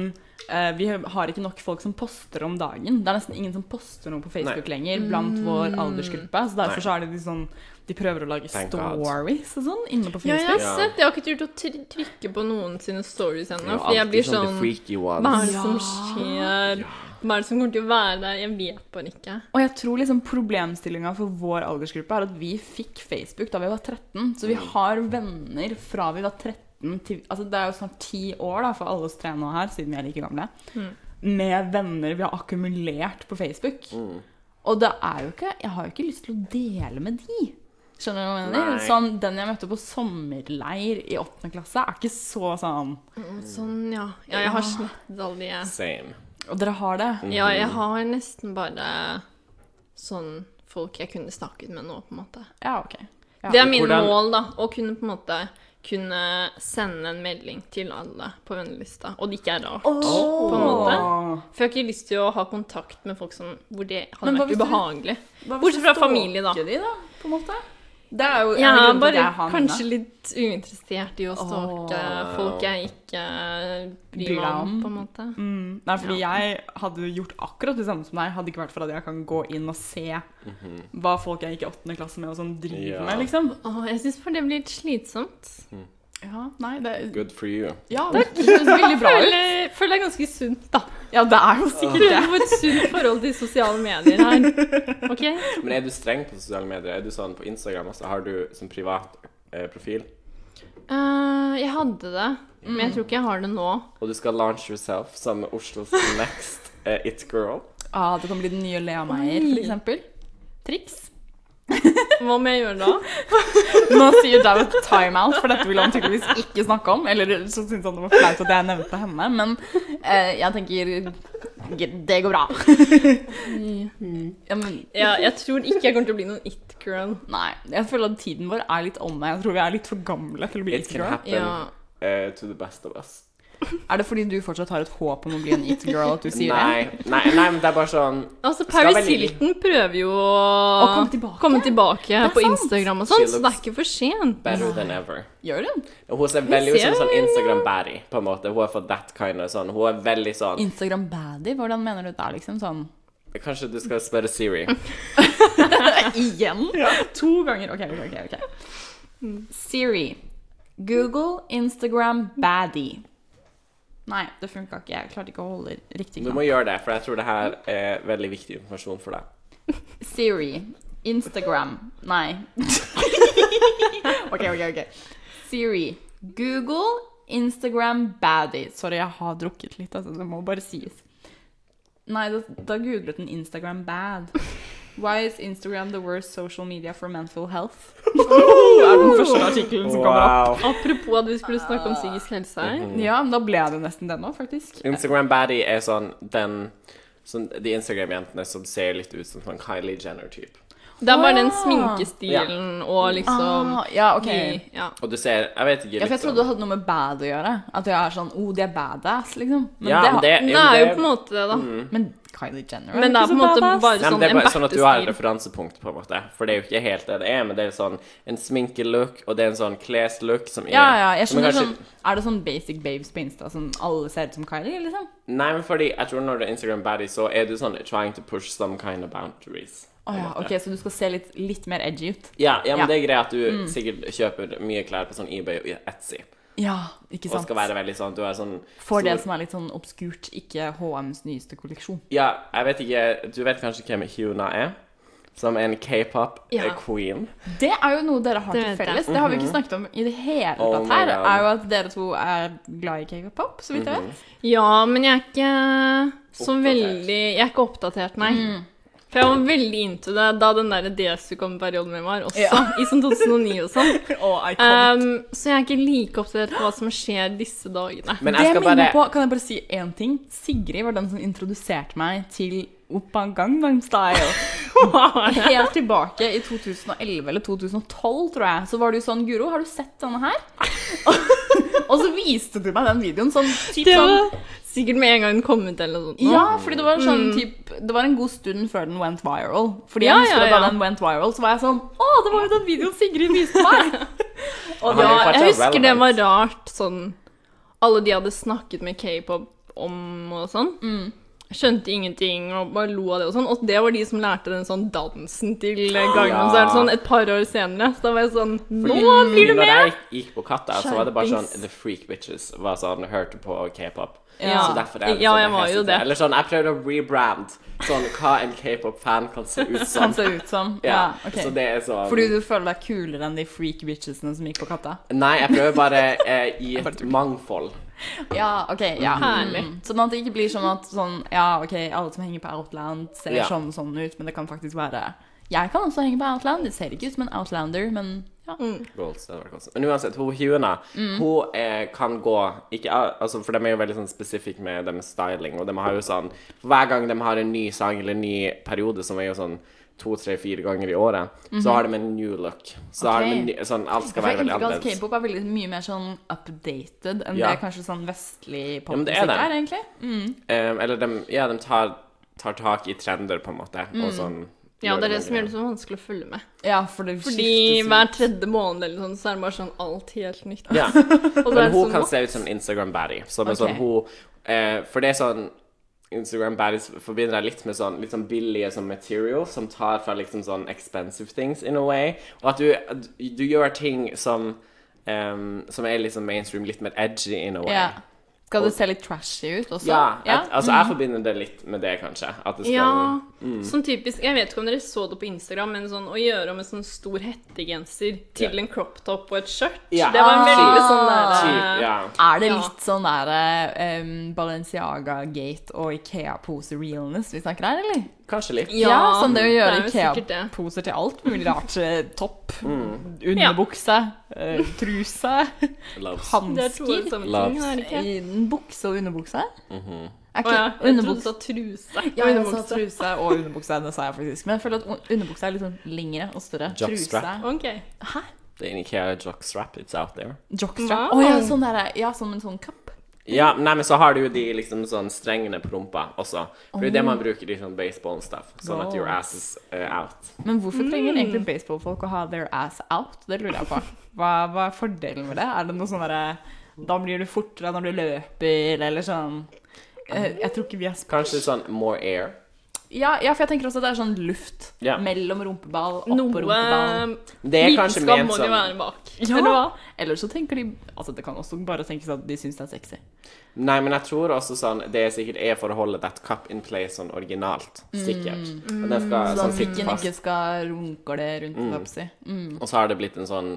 Speaker 1: eh, vi har ikke nok folk som poster om dagen. Det er nesten ingen som poster noe på Facebook lenger blant
Speaker 3: Mm.
Speaker 1: vår aldersgruppe. Så derfor
Speaker 2: Nei.
Speaker 1: så er det de sånn De prøver å lage
Speaker 2: Thank God.
Speaker 1: stories og sånn inne på
Speaker 3: Ja, jeg har
Speaker 1: Facebook.
Speaker 2: Ja.
Speaker 3: sett. Jeg har ikke turt å try- trykke på noen sine stories
Speaker 2: Det er
Speaker 3: ennå.
Speaker 2: jo
Speaker 3: Fordi jeg
Speaker 2: alltid
Speaker 3: blir
Speaker 2: sånn the
Speaker 3: sånn
Speaker 2: freaky
Speaker 3: Hva
Speaker 2: ones.
Speaker 3: er det som skjer? Hva er det som kommer til å være der? Jeg vet bare ikke.
Speaker 1: Og jeg tror liksom problemstillinga for vår aldersgruppe er at vi fikk Facebook da vi var 13. Så vi har venner fra vi var 13 til Altså det er jo snart ti år da for alle oss tre nå her, siden vi er like gamle. Med venner vi har akkumulert på Facebook. Og det er jo ikke Jeg har jo ikke lyst til å dele med de. Skjønner du hva jeg mener?
Speaker 2: Nei.
Speaker 1: Sånn, Den jeg møtte på sommerleir i åttende klasse, er ikke så sånn
Speaker 3: Sånn, ja. Ja, jeg har slettet alle de
Speaker 2: Same.
Speaker 1: Og dere har det?
Speaker 3: Ja, jeg har nesten bare sånn folk jeg kunne snakket med nå, på en måte.
Speaker 1: Ja, OK. Ja.
Speaker 3: Det er mine
Speaker 2: Hvordan-
Speaker 3: mål, da. Å kunne på en måte kunne sende en melding til alle på vennelista. Og det ikke er rart. på en måte. For jeg har ikke lyst til å ha kontakt med folk som, hvor det hadde
Speaker 1: Men hva
Speaker 3: vært
Speaker 1: hvis du-
Speaker 3: ubehagelig.
Speaker 1: Hva hvis
Speaker 3: Bortsett
Speaker 1: du
Speaker 3: fra familie, da.
Speaker 1: stalker De, da på en måte? Det er jo en
Speaker 3: Jeg
Speaker 1: av
Speaker 3: er
Speaker 1: grunnene til at
Speaker 3: bare
Speaker 1: jeg har mine.
Speaker 3: kanskje litt uinteressert i å stalke
Speaker 2: Åh.
Speaker 3: folk jeg ikke bryr meg om, på en måte.
Speaker 1: mm, Nei, fordi jeg hadde gjort akkurat det samme som deg, hadde ikke vært for at jeg kan gå inn og se hva folk jeg gikk i åttende klasse med og sånn driver
Speaker 2: Ja.
Speaker 1: med, liksom.
Speaker 3: Åh, jeg syns bare det blir litt slitsomt.
Speaker 1: Ja, nei, det
Speaker 2: Good for you.
Speaker 1: Ja, det høres veldig bra ut.
Speaker 3: Føler, føler jeg er ganske sunt, da.
Speaker 1: Ja, det er jo sikkert
Speaker 3: Prøver
Speaker 1: det.
Speaker 3: å få et sunt forhold til sosiale medier her. OK?
Speaker 2: Men er du streng på sosiale medier? Er du sånn på Instagram også? Har du som privat eh, profil?
Speaker 3: Eh, jeg hadde det, men jeg tror ikke jeg har det nå.
Speaker 2: Og du skal launch yourself som Oslos next eh, it girl?
Speaker 1: Ja, Ah, det kan bli den nye Lea Meyer, for eksempel. Triks.
Speaker 3: Hva må jeg gjøre da?
Speaker 1: Nå sier David timeout, for dette vil han tydeligvis ikke snakke om. Eller så syns han det var flaut at jeg nevnte henne, men eh, jeg tenker Det går bra. Ja, men
Speaker 3: Mm. Ja, jeg tror ikke jeg kommer til å bli noen it-girl.
Speaker 1: Nei, jeg føler at tiden vår er litt omme. Jeg tror vi er litt for gamle til å bli
Speaker 2: It can
Speaker 1: it-girl.
Speaker 2: happen
Speaker 3: Ja.
Speaker 2: eh, to the best of us.
Speaker 1: Er det fordi du fortsatt har et håp om å bli en it-girl at du sier det?
Speaker 2: Nei, nei, nei, men det er bare sånn
Speaker 3: Altså,
Speaker 2: Skal
Speaker 3: Paris
Speaker 2: vel-
Speaker 3: Hilton prøver jo å
Speaker 1: komme tilbake.
Speaker 3: komme tilbake
Speaker 1: er
Speaker 3: på
Speaker 1: sant.
Speaker 3: Instagram og sånn,
Speaker 2: She
Speaker 3: så det er
Speaker 2: looks-
Speaker 3: ikke for sent.
Speaker 2: better than ever.
Speaker 1: Gjør hun?
Speaker 2: Og Hun ser veldig ut som
Speaker 3: ser-
Speaker 2: sånn Instagram-baddy, på en måte. Hun er for that kind of sånn. Hun er veldig sånn
Speaker 1: Instagram baddy? Hvordan mener du det er liksom sånn?
Speaker 2: Kanskje du skal spørre Siri.
Speaker 1: Igjen? To ganger. Ok, ok, ok. ok. Siri. Google Instagram baddy. Nei, det funka ikke. Jeg klarte ikke å holde riktig
Speaker 2: Du
Speaker 1: knapp.
Speaker 2: må gjøre det, for jeg tror det her er veldig viktig informasjon for deg.
Speaker 1: Siri. Instagram. Nei. ok, ok, ok. Siri. Google Instagram baddie. Sorry, jeg har drukket litt, altså. Det må bare sies. Nei, da, da googlet den Instagram bad. Why is Instagram the worst social media for mental health? det Oh! er den første artikkelen som kommer opp.
Speaker 2: Wow.
Speaker 3: Apropos at vi skulle snakke om psykisk helse her.
Speaker 1: Ja, men da ble det nesten den òg, faktisk.
Speaker 2: Instagram baddie er sånn den sånn, De Instagram-jentene som ser litt ut som sånn Kylie Jenner-type.
Speaker 3: Det er bare den
Speaker 1: Ah.
Speaker 3: sminkestilen og liksom
Speaker 1: Ah, ja, ok.
Speaker 3: de- ja.
Speaker 2: Og du ser Jeg vet ikke
Speaker 1: Ja, for jeg trodde det hadde noe med bad å gjøre. At jeg er sånn oh, de er badass, liksom. Men,
Speaker 2: Ja,
Speaker 1: det
Speaker 2: men
Speaker 1: har-
Speaker 2: det-
Speaker 3: Det Mm.
Speaker 2: jo,
Speaker 3: er jo
Speaker 2: det-
Speaker 3: på en måte det, da.
Speaker 1: men Kylie Jenner
Speaker 3: Men det
Speaker 1: ikke
Speaker 3: er på en
Speaker 1: så
Speaker 3: måte
Speaker 1: badass.
Speaker 3: bare
Speaker 2: Nei,
Speaker 3: sånn
Speaker 2: men det er
Speaker 3: en
Speaker 2: bare sånn at du har et
Speaker 3: bertestil.
Speaker 2: referansepunkt, på en måte. For det er jo ikke helt det det er, men det er sånn en sminkelook, og det er en sånn kleslook som er
Speaker 1: Ja, ja, jeg
Speaker 2: som er
Speaker 1: skjønner
Speaker 2: kanskje-
Speaker 1: sånn Er det sånn basic babes på Insta som alle ser ut som Kylie, liksom?
Speaker 2: Nei, men fordi jeg tror når du er Instagram baddie, så er du sånn trying to push some kind of boundaries.
Speaker 1: Å ja, ok, så du skal se litt, litt mer edgy ut?
Speaker 2: Ja, ja
Speaker 1: Ja.
Speaker 2: men det er greia at du sikkert kjøper mye klær på sånn eBay og Etsy,
Speaker 1: Ja, ikke
Speaker 2: og
Speaker 1: sant?
Speaker 2: skal være veldig sånn Du er sånn
Speaker 1: For det
Speaker 2: stor-
Speaker 1: som er litt sånn obskurt, ikke HMs nyeste kolleksjon.
Speaker 2: Ja, jeg vet ikke Du vet kanskje hvem Hyuna er? Som en
Speaker 3: Ja.
Speaker 2: k-pop-queen.
Speaker 1: Det er jo noe dere har
Speaker 3: Det
Speaker 1: til
Speaker 3: vet jeg.
Speaker 1: felles. Det har vi ikke snakket om i det hele
Speaker 2: Mhm. Oh
Speaker 1: tatt
Speaker 2: my
Speaker 1: her.
Speaker 2: God. Mhm.
Speaker 1: Er jo at dere to er glad i k-pop, så vidt jeg vet.
Speaker 3: Ja, men jeg er ikke så
Speaker 2: Oppdatert.
Speaker 3: veldig Jeg er ikke oppdatert, nei. For jeg var veldig into det da den der DSU kom perioden min var, også.
Speaker 1: Ja.
Speaker 3: I sånn 2009 og sånn.
Speaker 1: Å, iconic.
Speaker 3: Um, så jeg er ikke like oppdatert på hva som skjer disse dagene.
Speaker 2: Men
Speaker 1: det
Speaker 2: jeg skal
Speaker 1: minner
Speaker 2: bare
Speaker 1: på, kan jeg bare si én ting? Sigrid var den som introduserte meg til Oppa Gangnam Style. Helt tilbake i 2011 eller 2012, tror jeg, så var du sånn Guro, har du sett denne her? Og så viste du meg den videoen sånn typ
Speaker 3: Det
Speaker 1: sånn
Speaker 3: var sikkert med en gang den kom ut eller noe sånt. nå.
Speaker 1: Ja, fordi det var en sånn typ Det var en god stund før den went viral. Fordi
Speaker 3: Mm. Ja,
Speaker 1: jeg husker
Speaker 3: ja,
Speaker 1: at
Speaker 3: ja.
Speaker 1: da den went viral, så var jeg sånn Å, det var jo den videoen Sigrid viste meg!
Speaker 2: Han
Speaker 1: Og
Speaker 2: er
Speaker 1: da,
Speaker 2: jo fortsatt
Speaker 3: Jeg husker det var
Speaker 2: relevant.
Speaker 3: rart, sånn Alle de hadde snakket med k-pop om og sånn. Skjønte ingenting og bare lo av det og sånn. Og det var de som lærte den sånn dansen til eh, Gangnam
Speaker 2: Ah, Ja.
Speaker 3: Style sånn et par år senere. Så da var jeg sånn Nå
Speaker 2: Fordi-
Speaker 3: blir du
Speaker 2: Når
Speaker 3: med!
Speaker 2: jeg gikk på Katta, så var det bare sånn
Speaker 3: Skjerpings.
Speaker 2: The Freak Bitches var sånn, hørte på k-pop.
Speaker 1: Ja.
Speaker 2: Så derfor er det
Speaker 3: Ja,
Speaker 2: sånn
Speaker 3: jeg var jo
Speaker 2: hesiterer.
Speaker 3: det.
Speaker 2: Eller sånn, jeg prøvde å rebrand sånn hva en k-pop-fan kan se ut som.
Speaker 1: Kan se ut som. Ja,
Speaker 2: Ja,
Speaker 1: ok.
Speaker 2: Så det er sånn
Speaker 1: Fordi du føler deg kulere enn de freak bitchesene som gikk på Katta?
Speaker 2: Nei, jeg prøver bare eh, i et mangfold.
Speaker 1: Ja, ok, ja.
Speaker 3: Herlig.
Speaker 1: Mm. Sånn at det ikke blir sånn at sånn, ja, ok, alle som henger på Outland ser
Speaker 2: Ja.
Speaker 1: sånn og sånn ut, men det kan faktisk være Jeg kan også henge på Outland, det ser ikke ut som en Outlander, men ja.
Speaker 2: Mm. Goals, det hadde vært konstant. Men uansett, hun Hyuna,
Speaker 3: Mm.
Speaker 2: hun eh, kan gå ikke, al- altså, For de er jo veldig sånn spesifikke med det med styling, og de har jo sånn Hver gang de har en ny sang eller en ny periode, som er jo sånn to, tre, fire ganger i året,
Speaker 3: Mhm.
Speaker 2: så har de en new look. Så har de en ny, sånn, alt skal
Speaker 1: For jeg
Speaker 2: være
Speaker 1: har
Speaker 2: veldig
Speaker 1: inntrykk av at
Speaker 2: annerledes.
Speaker 1: k-pop er veldig, mye mer sånn updated enn
Speaker 2: Ja.
Speaker 1: det kanskje sånn vestlig
Speaker 2: men det
Speaker 1: popmusikk
Speaker 2: er
Speaker 1: er,
Speaker 2: det.
Speaker 1: egentlig.
Speaker 2: Eh, eller de, ja, de tar, tar tak i trender, på en måte, og sånn
Speaker 3: Mm. Ja,
Speaker 2: gjør
Speaker 3: det er det
Speaker 2: noe
Speaker 3: som gjør det
Speaker 2: greier.
Speaker 3: så vanskelig å følge med.
Speaker 1: Ja, for det
Speaker 3: Fordi
Speaker 1: skiftes jo.
Speaker 3: hver tredje måned eller sånn, så er det bare sånn alt helt nytt.
Speaker 2: Ja.
Speaker 3: Og så
Speaker 2: Men
Speaker 3: er
Speaker 2: hun
Speaker 3: det sånn
Speaker 2: kan
Speaker 3: «What?»
Speaker 2: se ut som en Instagram baddie. Som en
Speaker 1: Ok.
Speaker 2: sånn hun eh, For det er sånn Instagram baddies forbinder jeg litt med sånn litt sånn billige sånn material som tar fra liksom sånn expensive things in a way. Og at du, du gjør ting som em, som er liksom mainstream, litt mer edgy in a way.
Speaker 1: ja. Skal det se litt trashy ut også?
Speaker 2: Ja, Jeg, altså jeg forbinder det litt med det, kanskje. At det skal
Speaker 3: Sånn? Mm. Ja,
Speaker 2: Mm.
Speaker 3: sånn typisk Jeg vet ikke om dere så det på Instagram, men sånn å gjøre om en sånn stor hettegenser til
Speaker 2: Ja.
Speaker 3: en crop top og et skjørt,
Speaker 2: Ja.
Speaker 3: det var en veldig
Speaker 1: Ah.
Speaker 3: sånn der
Speaker 2: Typ, ja.
Speaker 1: Er det
Speaker 3: Ja.
Speaker 1: litt sånn der eh, em, Balenciaga-gate og Ikea-pose-realness vi snakker her, eller?
Speaker 2: Kanskje litt.
Speaker 1: Ja, sånn det å gjøre
Speaker 3: er jo sikkert det.
Speaker 1: Ikea-poser til alt mulig rart. eh, Topp, underbukse, eh, truse,
Speaker 2: Loves.
Speaker 3: Det er to
Speaker 1: hansker.
Speaker 3: samme ting,
Speaker 2: Loves.
Speaker 3: er det ikke?
Speaker 1: i en Bukse og underbukse? Er
Speaker 3: Å
Speaker 1: ikke
Speaker 3: ja, jeg trodde du
Speaker 1: underbukse
Speaker 3: sa truse.
Speaker 1: ja, jeg sa
Speaker 3: Underbukse.
Speaker 1: truse og underbukse, det sa jeg faktisk. Men jeg føler at un- underbukse er litt sånn lengre og større.
Speaker 2: Jockstrap.
Speaker 1: Truse
Speaker 3: Ok.
Speaker 1: Hæ?
Speaker 2: Det er ikke jockstrap, it's out there.
Speaker 1: Jockstrap? Å
Speaker 3: Wow.
Speaker 1: ja, sånn der, ja, som en sånn kapp.
Speaker 2: Ja, nei, men så har du jo de liksom sånn strengene på rumpa også. For det er det man bruker i sånn baseball and stuff. Sånn at your ass is eh, out.
Speaker 1: Men hvorfor trenger egentlig baseballfolk å ha their ass out? Det lurer jeg på. Hva, hva er fordelen med det? Er det noe sånn derre Da blir du fortere når du løper, eller sånn Eh, Jeg tror ikke vi er sp...
Speaker 2: Kanskje sånn more air.
Speaker 1: Ja, ja, for jeg tenker også at det er sånn luft
Speaker 2: Ja.
Speaker 1: mellom rumpeball, oppå
Speaker 3: Noe eh,
Speaker 1: rumpeball.
Speaker 2: Det er kanskje
Speaker 3: lidenskap
Speaker 2: ment sånn-
Speaker 3: må det
Speaker 2: som-
Speaker 3: jo være bak.
Speaker 1: Ja.
Speaker 3: Eller hva?
Speaker 1: Eller så tenker de Altså, det kan også bare tenkes at de syns det er sexy.
Speaker 2: Nei, men jeg tror også sånn Det er sikkert er for å holde that cup in place sånn originalt. Sikkert. Og den skal
Speaker 1: mm. Så
Speaker 2: sånn sitte
Speaker 1: pikken ikke
Speaker 2: fast.
Speaker 1: skal runke det rundt, holdt jeg på å si. Mm.
Speaker 2: Og så har det blitt en sånn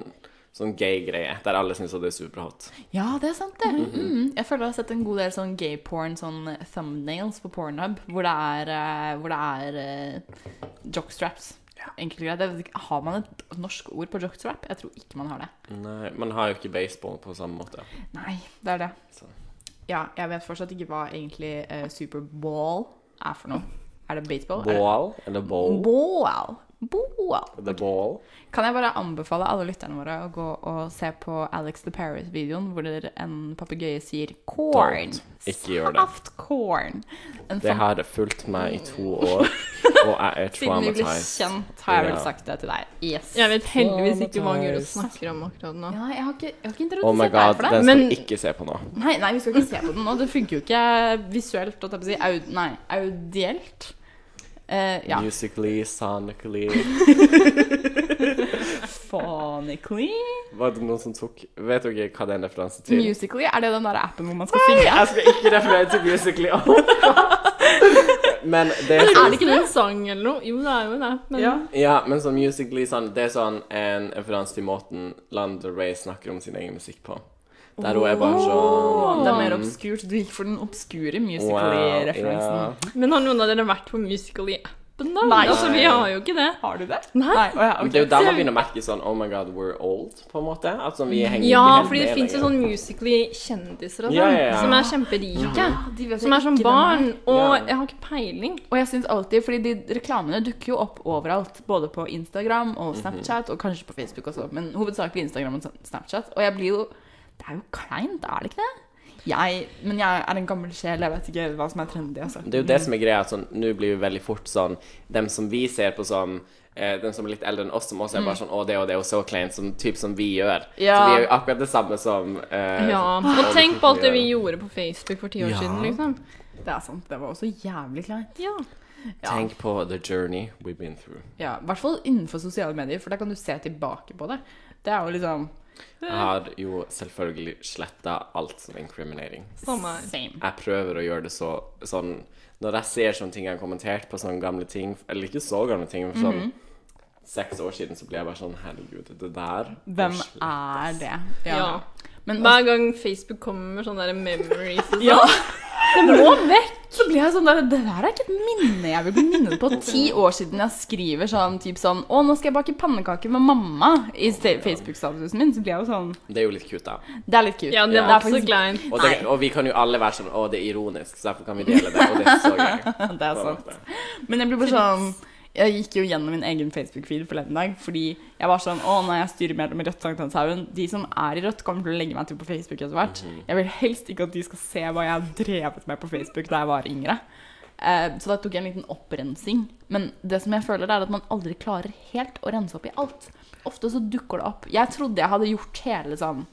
Speaker 2: Sånn gay-greie der alle syns at det er superhot.
Speaker 1: Ja, det er sant, det.
Speaker 2: Mm-hmm.
Speaker 1: Mhm. Jeg føler jeg har sett en god del sånn gay porn, sånn thumbnails på Pornhub, hvor det er, eh, hvor det er eh, jockstraps. Enkelt og greit. Jeg vet ikke, Har man et norsk ord på jockstrap? Jeg tror ikke man har det.
Speaker 2: Nei, Man har jo ikke baseball på samme måte.
Speaker 1: Nei, det er det.
Speaker 2: Så.
Speaker 1: Ja, jeg vet fortsatt ikke hva egentlig eh, superball er for noe. Er det baseball? Er det-
Speaker 2: Ball eller bowl?
Speaker 1: Ball. Ball.
Speaker 2: The ball.
Speaker 1: Kan jeg bare anbefale alle lytterne våre å gå og se på Alex the Paris-videoen, hvor det er en papegøye sier 'corn'.
Speaker 2: Don't. Ikke gjør det.
Speaker 1: Soft corn. En
Speaker 2: Det
Speaker 1: fan-
Speaker 2: har fulgt meg i to år, og jeg er
Speaker 5: Siden vi ble
Speaker 2: traumatized.
Speaker 5: kjent, har jeg vel
Speaker 2: Ja.
Speaker 5: sagt det til deg. Yes.
Speaker 3: Jeg vet heldigvis ikke hva Guro
Speaker 2: Traumatized.
Speaker 3: snakker om akkurat nå.
Speaker 1: Ja, jeg har ikke, jeg har ikke
Speaker 2: Oh my
Speaker 1: introdusert deg
Speaker 2: god,
Speaker 1: for det.
Speaker 2: den skal
Speaker 3: Men-
Speaker 2: vi ikke se på nå.
Speaker 1: Nei, nei, vi skal ikke se på den nå. Det funker jo ikke visuelt. holdt Jeg på å si. Au, nei, audielt. Eh, ja.
Speaker 2: Musically, sonically
Speaker 1: Phonically.
Speaker 2: Var det noen som tok Vet dere hva det er en referanse til?
Speaker 1: Musically, er det den der appen hvor man skal synge?
Speaker 2: Jeg skal ikke referere til Musically. Oh my God. men det er
Speaker 3: Er
Speaker 2: sånn
Speaker 3: det ikke det en sang eller noe? Jo, det er jo det. Men
Speaker 1: Ja.
Speaker 2: Ja, men sånn Musically sånn, Det er sånn en referanse til måten Lana Ray snakker om sin egen musikk på. Der hun er bare sånn
Speaker 1: Det er mer obskurt. Du gikk for den obskure musically-referansen.
Speaker 2: Wow,
Speaker 3: Men har noen av dere vært på Musical.ly-appen, da?
Speaker 1: Nei.
Speaker 3: Altså, vi har jo ikke det.
Speaker 1: Har du det?
Speaker 3: Nei.
Speaker 1: Å ja,
Speaker 2: ja.
Speaker 1: ok. Mm.
Speaker 2: Det er jo der man begynner å merke sånn Oh my god, we're old, på en måte. At sånn, vi henger
Speaker 3: Ja,
Speaker 2: ikke helt
Speaker 3: fordi det
Speaker 2: med
Speaker 3: fins jo
Speaker 2: lenger.
Speaker 3: sånn Musical.ly-kjendiser og sånn,
Speaker 2: Ja, ja, ja.
Speaker 3: som er kjemperike.
Speaker 1: De vet
Speaker 3: Som er som
Speaker 1: ikke hvem det er.
Speaker 3: barn. Og
Speaker 2: Ja.
Speaker 3: jeg har ikke peiling.
Speaker 1: Og jeg synes alltid, fordi de reklamene dukker jo opp overalt, både på Instagram og
Speaker 2: Mhm.
Speaker 1: Snapchat, og kanskje på Facebook også, men hovedsakelig Instagram og Snapchat. Og jeg blir jo Det er jo kleint, er det ikke det? Jeg, men jeg er en gammel sjel, jeg vet ikke hva som er trendy, altså.
Speaker 2: Det er jo
Speaker 3: Mm.
Speaker 2: det som er greia, at sånn, nå blir vi veldig fort sånn Dem som vi ser på som eh, dem som er litt eldre enn oss, som også er bare
Speaker 3: Mm.
Speaker 2: sånn Å, det og det er jo så kleint, sånn typ som vi gjør.
Speaker 1: Ja.
Speaker 2: Så vi er jo akkurat det samme som eh,
Speaker 3: Ja. Og tenk på alt det vi gjorde på Facebook for ti år
Speaker 2: Ja.
Speaker 3: siden, liksom.
Speaker 1: Det er sant. Det var også jævlig kleint.
Speaker 3: Ja.
Speaker 2: Tenk på the journey we've been through.
Speaker 1: Ja, I hvert fall innenfor sosiale medier, for da kan du se tilbake på det. Det er jo liksom
Speaker 2: Jeg har jo selvfølgelig sletta alt som er incriminating.
Speaker 3: Samme her.
Speaker 1: same.
Speaker 2: Jeg prøver å gjøre det så sånn Når jeg ser sånne ting jeg har kommentert på sånne gamle ting Eller ikke så gamle ting, men for sånn
Speaker 3: Mhm.
Speaker 2: seks år siden, så blir jeg bare sånn Herregud, det der
Speaker 1: Hvem er det?
Speaker 3: ja.
Speaker 1: Men
Speaker 3: Hver gang Facebook kommer med sånne der memories og sånn,
Speaker 1: Ja! Det må altså, vekk! Så blir jeg sånn der, Det der er ikke et minne jeg vil bli minnet på. Ti år siden jeg skriver sånn typ sånn Å, nå skal jeg bake pannekaker med mamma i sta- Facebook-statusen min. Så blir jeg jo sånn
Speaker 2: Det er jo litt cute, da.
Speaker 1: Det er litt kult.
Speaker 3: Ja, det
Speaker 2: Ja.
Speaker 3: var
Speaker 1: Det er
Speaker 3: ikke så
Speaker 1: faktisk-
Speaker 3: kleint.
Speaker 2: Og, det, og vi kan jo alle være sånn Å, det er ironisk, så derfor kan vi dele det. Og det er så gøy.
Speaker 1: sånn Det er sant. Men jeg blir bare sånn jeg gikk jo gjennom min egen Facebook-feed forleden dag fordi jeg var sånn Å, nei, jeg styrer mer med Rødt Sankthanshaugen. De som er i Rødt, kommer til å legge meg til på Facebook etter hvert. Jeg vil helst ikke at de skal se hva jeg har drevet med på Facebook da jeg var yngre. Eh, Så da tok jeg en liten opprensing. Men det som jeg føler, det er at man aldri klarer helt å rense opp i alt. Ofte så dukker det opp. Jeg trodde jeg hadde gjort hele sånn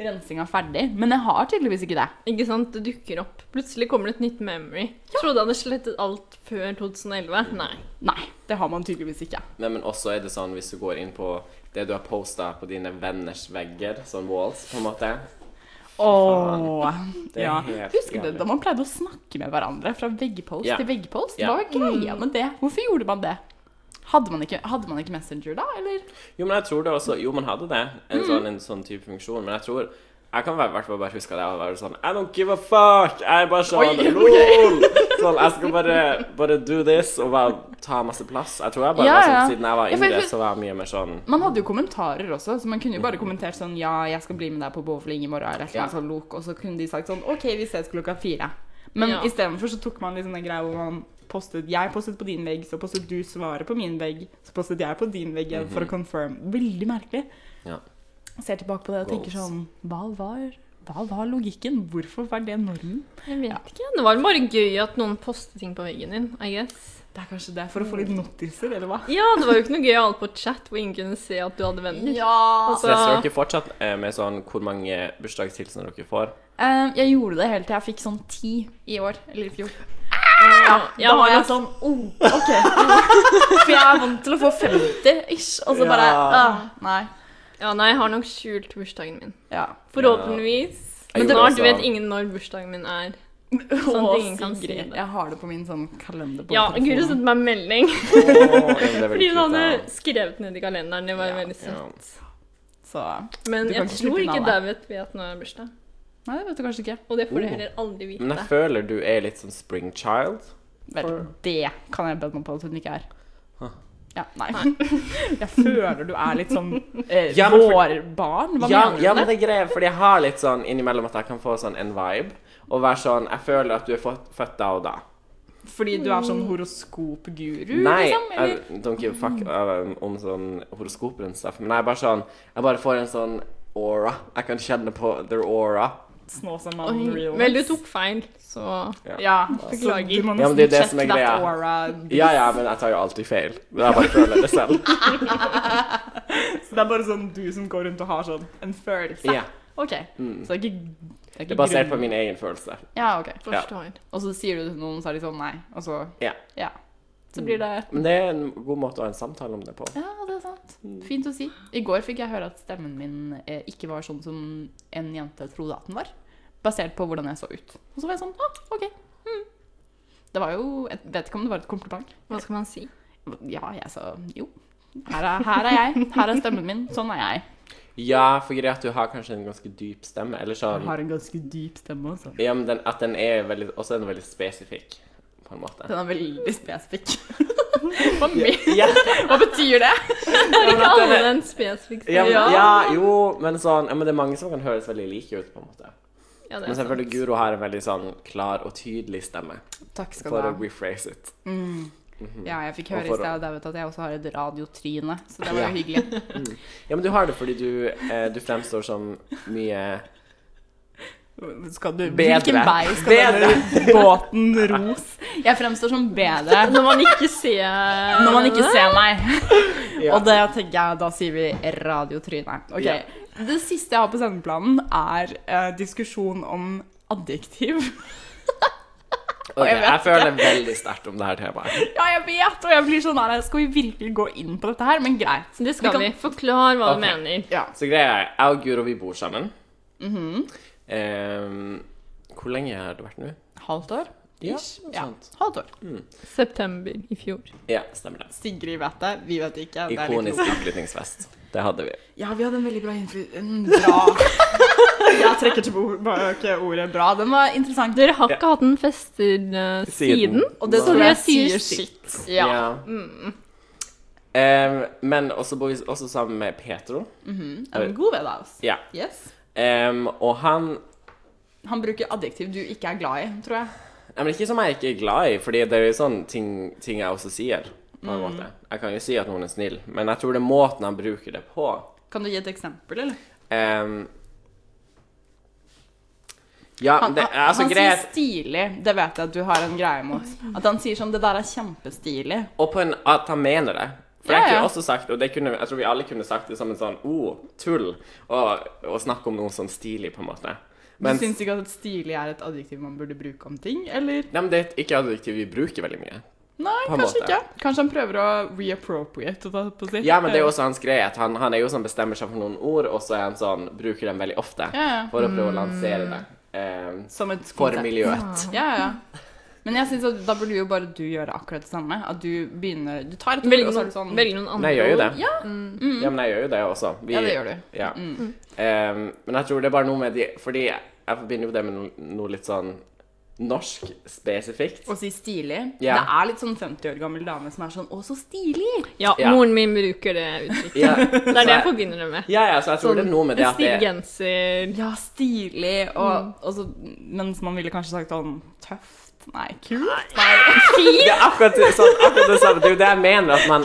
Speaker 1: rensinga ferdig, men jeg har tydeligvis ikke det.
Speaker 3: Ikke sant? Det dukker opp. Plutselig kommer det et nytt memory. Trodde jeg hadde slettet alt før 2011. Nei.
Speaker 1: Nei, det har man tydeligvis ikke.
Speaker 2: Nei, men også er det sånn hvis du går inn på det du har posta på dine venners vegger, sånn walls, på en måte
Speaker 1: Åh,
Speaker 2: Det er
Speaker 1: ja.
Speaker 2: helt
Speaker 1: Husker du
Speaker 2: jævlig.
Speaker 1: da man pleide å snakke med hverandre fra veggpost
Speaker 2: Ja.
Speaker 1: til veggpost?
Speaker 2: Ja. Mm.
Speaker 1: Hva var greia med det? Hvorfor gjorde man det? Hadde man ikke, hadde man ikke Messenger da, eller?
Speaker 2: Jo, men jeg tror det også Jo, man hadde det. En sånn, en sånn type funksjon. Men jeg tror Jeg kan i hvert fall bare huske at jeg var sånn I don't give a fuck! Jeg er bare
Speaker 1: Oi,
Speaker 2: sånn
Speaker 1: ok.
Speaker 2: LOL! Sånn, jeg skal bare, bare do this og bare ta masse plass. Jeg tror jeg bare
Speaker 1: Ja,
Speaker 2: var
Speaker 1: ja.
Speaker 2: sånn Siden jeg var
Speaker 1: Ja, for jeg
Speaker 2: yngre,
Speaker 1: føl-
Speaker 2: så var jeg mye mer sånn
Speaker 1: Man hadde jo kommentarer også, så man kunne jo bare kommentert sånn Ja, jeg skal bli med deg på bowling i morgen, eller et eller annet
Speaker 2: Ja.
Speaker 1: sånt lok. Og så kunne de sagt sånn OK, vi ses klokka fire. Men
Speaker 3: Ja.
Speaker 1: istedenfor så tok man liksom den greia hvor man postet Jeg postet på din vegg, så postet du svaret på min vegg, så postet jeg på din vegg igjen for å confirm. Veldig merkelig.
Speaker 2: Ja.
Speaker 1: Jeg ser tilbake på det og tenker
Speaker 2: Goals.
Speaker 1: sånn Hva var, hva var logikken? Hvorfor var det normen?
Speaker 3: Jeg vet ikke. Det var bare gøy at noen postet ting på veggen din, I guess.
Speaker 1: Det er kanskje det, for å få litt notiser, eller hva?
Speaker 3: Ja, det var jo ikke noe gøy å ha det på chat hvor ingen kunne se at du hadde venner.
Speaker 1: Ja!
Speaker 3: Altså,
Speaker 2: Stresser dere fortsatt eh, med sånn hvor mange bursdagshilsener dere får?
Speaker 1: Eh, jeg gjorde det helt til jeg fikk sånn ti i år, eller i fjor.
Speaker 3: ja,
Speaker 1: da
Speaker 3: jeg
Speaker 1: var
Speaker 3: har
Speaker 1: jeg
Speaker 3: jo
Speaker 1: sånn oh, OK. For jeg er vant til å få 50 ish, og så bare
Speaker 2: Ja.
Speaker 1: ah, Nei.
Speaker 3: Ja, nei, jeg har nok skjult bursdagen min.
Speaker 1: Ja.
Speaker 3: Forhåpentligvis.
Speaker 2: Jeg
Speaker 3: Men
Speaker 2: gjorde
Speaker 3: snart
Speaker 2: også-
Speaker 1: altså.
Speaker 3: vet ingen når bursdagen min er. Sånn at ingen kan si det.
Speaker 1: Jeg har det på min sånn kalender på
Speaker 3: Ja, Guro
Speaker 1: telefonen.
Speaker 3: sendte meg en melding
Speaker 2: Åh, det er veldig
Speaker 3: fordi hun
Speaker 2: kult,
Speaker 3: hadde
Speaker 2: da.
Speaker 3: skrevet ned i kalenderen. Det var
Speaker 1: Ja.
Speaker 3: veldig søtt.
Speaker 2: Ja.
Speaker 1: Så
Speaker 3: Men
Speaker 1: Du kan ikke
Speaker 3: jeg tror
Speaker 1: slippe unna det.
Speaker 3: ikke David vet når det er bursdag.
Speaker 1: Nei, det vet du kanskje ikke.
Speaker 3: Og det får du
Speaker 2: Oh.
Speaker 3: heller aldri
Speaker 2: Men jeg
Speaker 3: vite.
Speaker 2: føler du er litt sånn spring child.
Speaker 1: Vel,
Speaker 2: For-
Speaker 1: det kan jeg bedre meg på at hun ikke er.
Speaker 2: Huh.
Speaker 1: Ja, nei. Jeg føler du er litt sånn eh,
Speaker 2: Ja, men for-
Speaker 1: vårbarn. Hva
Speaker 2: Ja,
Speaker 1: mener du?
Speaker 2: ja, men det er greia, fordi jeg har litt sånn innimellom at jeg kan få sånn en vibe. Og være sånn Jeg føler at du er født, født da og da.
Speaker 1: Fordi du er sånn horoskopguru,
Speaker 2: Nei,
Speaker 1: liksom?
Speaker 2: jeg
Speaker 1: Eller?
Speaker 2: don't give a fuck um, om sånn horoskoper og stuff, men jeg er bare sånn Jeg bare får en sånn aura. Jeg kan kjenne på their aura.
Speaker 1: Snå sånn som
Speaker 3: Oi,
Speaker 1: man real
Speaker 3: Vel, du
Speaker 1: life.
Speaker 3: tok feil, så
Speaker 1: Ja,
Speaker 3: Beklager.
Speaker 1: så du må
Speaker 2: Ja, men
Speaker 1: nesten
Speaker 2: det er det som
Speaker 1: sjekke
Speaker 2: er
Speaker 1: that
Speaker 2: greia.
Speaker 1: aura.
Speaker 2: Ja, ja, men jeg tar jo alltid feil. Men jeg bare føler det selv.
Speaker 1: Så det er bare sånn du som går rundt og har sånn en følelse.
Speaker 2: Ja,
Speaker 1: OK.
Speaker 2: mm.
Speaker 1: Så det er ikke, det er
Speaker 2: Det
Speaker 1: ikke
Speaker 2: er basert på
Speaker 1: grunn-
Speaker 2: min egen følelse.
Speaker 1: Ja, OK.
Speaker 3: forstår.
Speaker 1: Og så sier du det til noen, så er de sånn nei. Og så
Speaker 2: Ja.
Speaker 1: Så blir det
Speaker 2: Men det er en god måte å ha en samtale om det på.
Speaker 1: Ja, det er sant.
Speaker 2: Mm.
Speaker 1: Fint å si. I går fikk jeg høre at stemmen min eh, ikke var sånn som en jente trodde at den var, basert på hvordan jeg så ut. Og så var jeg sånn, ah, ok. Hmm. Det var jo, jeg vet ikke om det var et kompliment.
Speaker 3: Hva skal man si?
Speaker 1: Ja, jeg sa jo. Her er, her er jeg. Her er stemmen min. Sånn er jeg.
Speaker 2: Ja, for greia er at du har kanskje en ganske dyp stemme, eller sånn
Speaker 1: en ganske dyp stemme altså. også.
Speaker 2: Ja, men den, at den er veldig, også er den veldig spesifikk, på en måte.
Speaker 1: Den er veldig spesifikk. Hva, me-
Speaker 2: Ja, sånn
Speaker 1: Hva betyr det?
Speaker 3: Er ikke alle en spesifikk
Speaker 2: ja, men,
Speaker 3: stemme?
Speaker 2: ja, jo, men sånn ja, men Det er mange som kan høres veldig like ut, på en måte.
Speaker 3: Ja,
Speaker 2: Men
Speaker 3: det er sant.
Speaker 2: selvfølgelig, Guro har en veldig sånn klar og tydelig stemme.
Speaker 1: Takk skal
Speaker 2: For
Speaker 1: du
Speaker 2: å
Speaker 1: ha.
Speaker 2: rephrase it.
Speaker 1: Mm.
Speaker 2: Mhm.
Speaker 1: Ja, jeg fikk
Speaker 2: Og
Speaker 1: høre i
Speaker 2: for å-
Speaker 1: sted David, at jeg også har et radiotryne, så det var
Speaker 2: Ja.
Speaker 1: jo hyggelig.
Speaker 2: Ja, men du har det fordi du, eh, du fremstår som mye
Speaker 1: Skal du,
Speaker 2: Bedre.
Speaker 1: Hvilken vei skal denne båten ros? Jeg fremstår som bedre
Speaker 3: Når man ikke ser
Speaker 1: når man ikke ser meg.
Speaker 2: Ja.
Speaker 1: Og det tenker jeg, da sier vi radiotryne. Ok,
Speaker 2: Ja.
Speaker 1: Det siste jeg har på sendeplanen, er eh, diskusjon om adjektiv.
Speaker 2: Ok,
Speaker 1: jeg vet
Speaker 2: Jeg føler veldig sterkt om det her temaet.
Speaker 1: Ja, jeg vet, og jeg blir sånn her Skal vi virkelig gå inn på dette her? Men greit.
Speaker 3: Det skal
Speaker 1: Vi
Speaker 3: vi. Forklar hva
Speaker 2: Ok.
Speaker 3: du mener.
Speaker 1: Ja.
Speaker 2: Så greia er, jeg og Guro, vi bor sammen. eh, hvor lenge har det vært nå?
Speaker 1: Halvt år?
Speaker 2: Ja,
Speaker 1: Ish.
Speaker 2: noe
Speaker 1: Ja,
Speaker 2: sånt.
Speaker 1: halvt år.
Speaker 3: September i fjor.
Speaker 2: Ja, stemmer det.
Speaker 1: Sigrid vet det, vi vet ikke. Det er litt
Speaker 2: Ikonisk utflyttingsfest. Det hadde vi.
Speaker 1: Ja, vi hadde en veldig bra innflytelse. En bra Jeg trekker tilbake ordet bra. Den var interessant.
Speaker 3: Dere har ikke hatt en fester eh, siden?
Speaker 1: Og det
Speaker 2: Nei.
Speaker 3: Så
Speaker 1: tror
Speaker 3: jeg
Speaker 1: jeg
Speaker 3: sier
Speaker 1: sier
Speaker 3: shit.
Speaker 1: shit.
Speaker 2: Ja. Ehm, men også bor vi også sammen med Petro.
Speaker 1: En god ved deg, altså.
Speaker 2: Ja.
Speaker 1: Yes.
Speaker 2: Ehm, og han
Speaker 1: Han bruker adjektiv du ikke er glad i, tror jeg.
Speaker 2: Nei, men Ikke som jeg ikke er glad i, Fordi det er jo sånn ting, ting jeg også sier. På en måte.
Speaker 1: Mm.
Speaker 2: Jeg kan jo si at noen er snill, men jeg tror det er måten han bruker det på.
Speaker 1: Kan du gi et eksempel, eller?
Speaker 2: Ehm, ja,
Speaker 1: Han,
Speaker 2: det er altså
Speaker 1: han
Speaker 2: greit
Speaker 1: sier stilig. Det vet jeg at du har en greie mot. At han sier sånn Det der er kjempestilig.
Speaker 2: Og på en, at han mener det. For
Speaker 1: Ja,
Speaker 2: jeg kunne
Speaker 1: ja.
Speaker 2: også sagt, og det kunne, jeg tror vi alle kunne sagt det som en sånn oh, tull, og, og snakke om noe sånn stilig, på en måte.
Speaker 1: Men,
Speaker 2: Mens-
Speaker 1: du syns ikke at stilig er et adjektiv man burde bruke om ting, eller?
Speaker 2: Nei, men det er et- ikke adjektiv vi bruker veldig mye.
Speaker 1: Nei,
Speaker 2: På en
Speaker 1: kanskje
Speaker 2: måte.
Speaker 1: ikke. Kanskje han prøver å reappropriate det på sitt.
Speaker 2: Ja, men det er jo også hans greie at han, han er jo sånn bestemmer seg for noen ord, og så er han sånn, bruker dem veldig ofte
Speaker 1: Ja, ja.
Speaker 2: for å prøve å lansere det. Eh,
Speaker 1: Som et
Speaker 2: for
Speaker 1: konsept.
Speaker 2: miljøet.
Speaker 1: Ja, ja. Men jeg synes at da burde jo bare du gjøre akkurat det samme. At du begynner Du tar et ord,
Speaker 3: Velg
Speaker 1: og så er
Speaker 3: noen,
Speaker 1: det sånn
Speaker 3: velg noen andre Mm.
Speaker 2: Nei, jeg gjør jo det.
Speaker 3: ord.
Speaker 1: Ja,
Speaker 2: Ja, men jeg gjør jo det også. Vi-
Speaker 1: ja, det gjør du. Mm.
Speaker 2: Ja. Eh, men jeg tror det er bare noe med de Fordi jeg forbinder jo det med no- noe litt sånn norsk spesifikt.
Speaker 1: Å si stilig.
Speaker 2: Ja.
Speaker 1: Det er litt sånn 50 år gammel dame som er sånn 'Å, så stilig'.
Speaker 3: Ja,
Speaker 2: Ja.
Speaker 3: moren min bruker det uttrykket.
Speaker 2: Ja,
Speaker 3: Det er det jeg forbinder det med.
Speaker 2: Ja, ja, så jeg tror
Speaker 1: Sånn
Speaker 2: det er noe med det
Speaker 3: En
Speaker 2: at det
Speaker 3: stiv genser
Speaker 1: Ja, stilig. Og, og så Mens man ville kanskje sagt sånn tøft. Nei, kult. Nei.
Speaker 2: Det er akkurat, sånn, akkurat det samme. Det er jo det jeg mener at man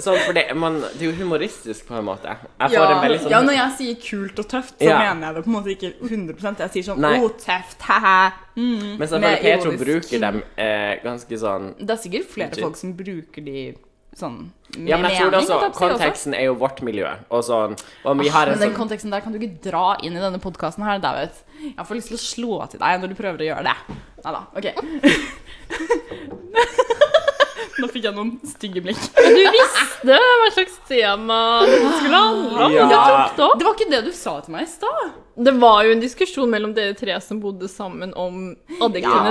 Speaker 2: sånn, for det, man, det er jo humoristisk på en måte. Jeg får
Speaker 1: Ja.
Speaker 2: en veldig sånn
Speaker 1: ja, når jeg sier kult og tøft, så
Speaker 2: Ja.
Speaker 1: mener jeg det på en måte ikke 100 Jeg sier sånn
Speaker 2: Nei.
Speaker 1: 'Å, tøft', ha-ha. Mm.
Speaker 2: Men
Speaker 1: Mer
Speaker 2: selvfølgelig Petro
Speaker 1: ironisk.
Speaker 2: bruker dem eh, ganske sånn
Speaker 1: Det er sikkert flere
Speaker 2: Legit.
Speaker 1: folk som bruker de sånn med
Speaker 2: Ja, men jeg tror det også
Speaker 1: holdt jeg på å si, også.
Speaker 2: Konteksten er jo vårt miljø, og sånn og vi har
Speaker 1: Men
Speaker 2: en
Speaker 1: den
Speaker 2: sånn
Speaker 1: konteksten der kan du ikke dra inn i denne podkasten her, David. Jeg får lyst til å slå til deg når du prøver å gjøre det. Nei da. OK. Nå fikk jeg noen stygge blikk.
Speaker 3: Men du visste hva slags tema det skulle handle om!
Speaker 2: Ja.
Speaker 3: Du tok det opp.
Speaker 1: Det var ikke det du sa til meg i stad.
Speaker 3: Det var jo en diskusjon mellom dere tre som bodde sammen, om adjektivene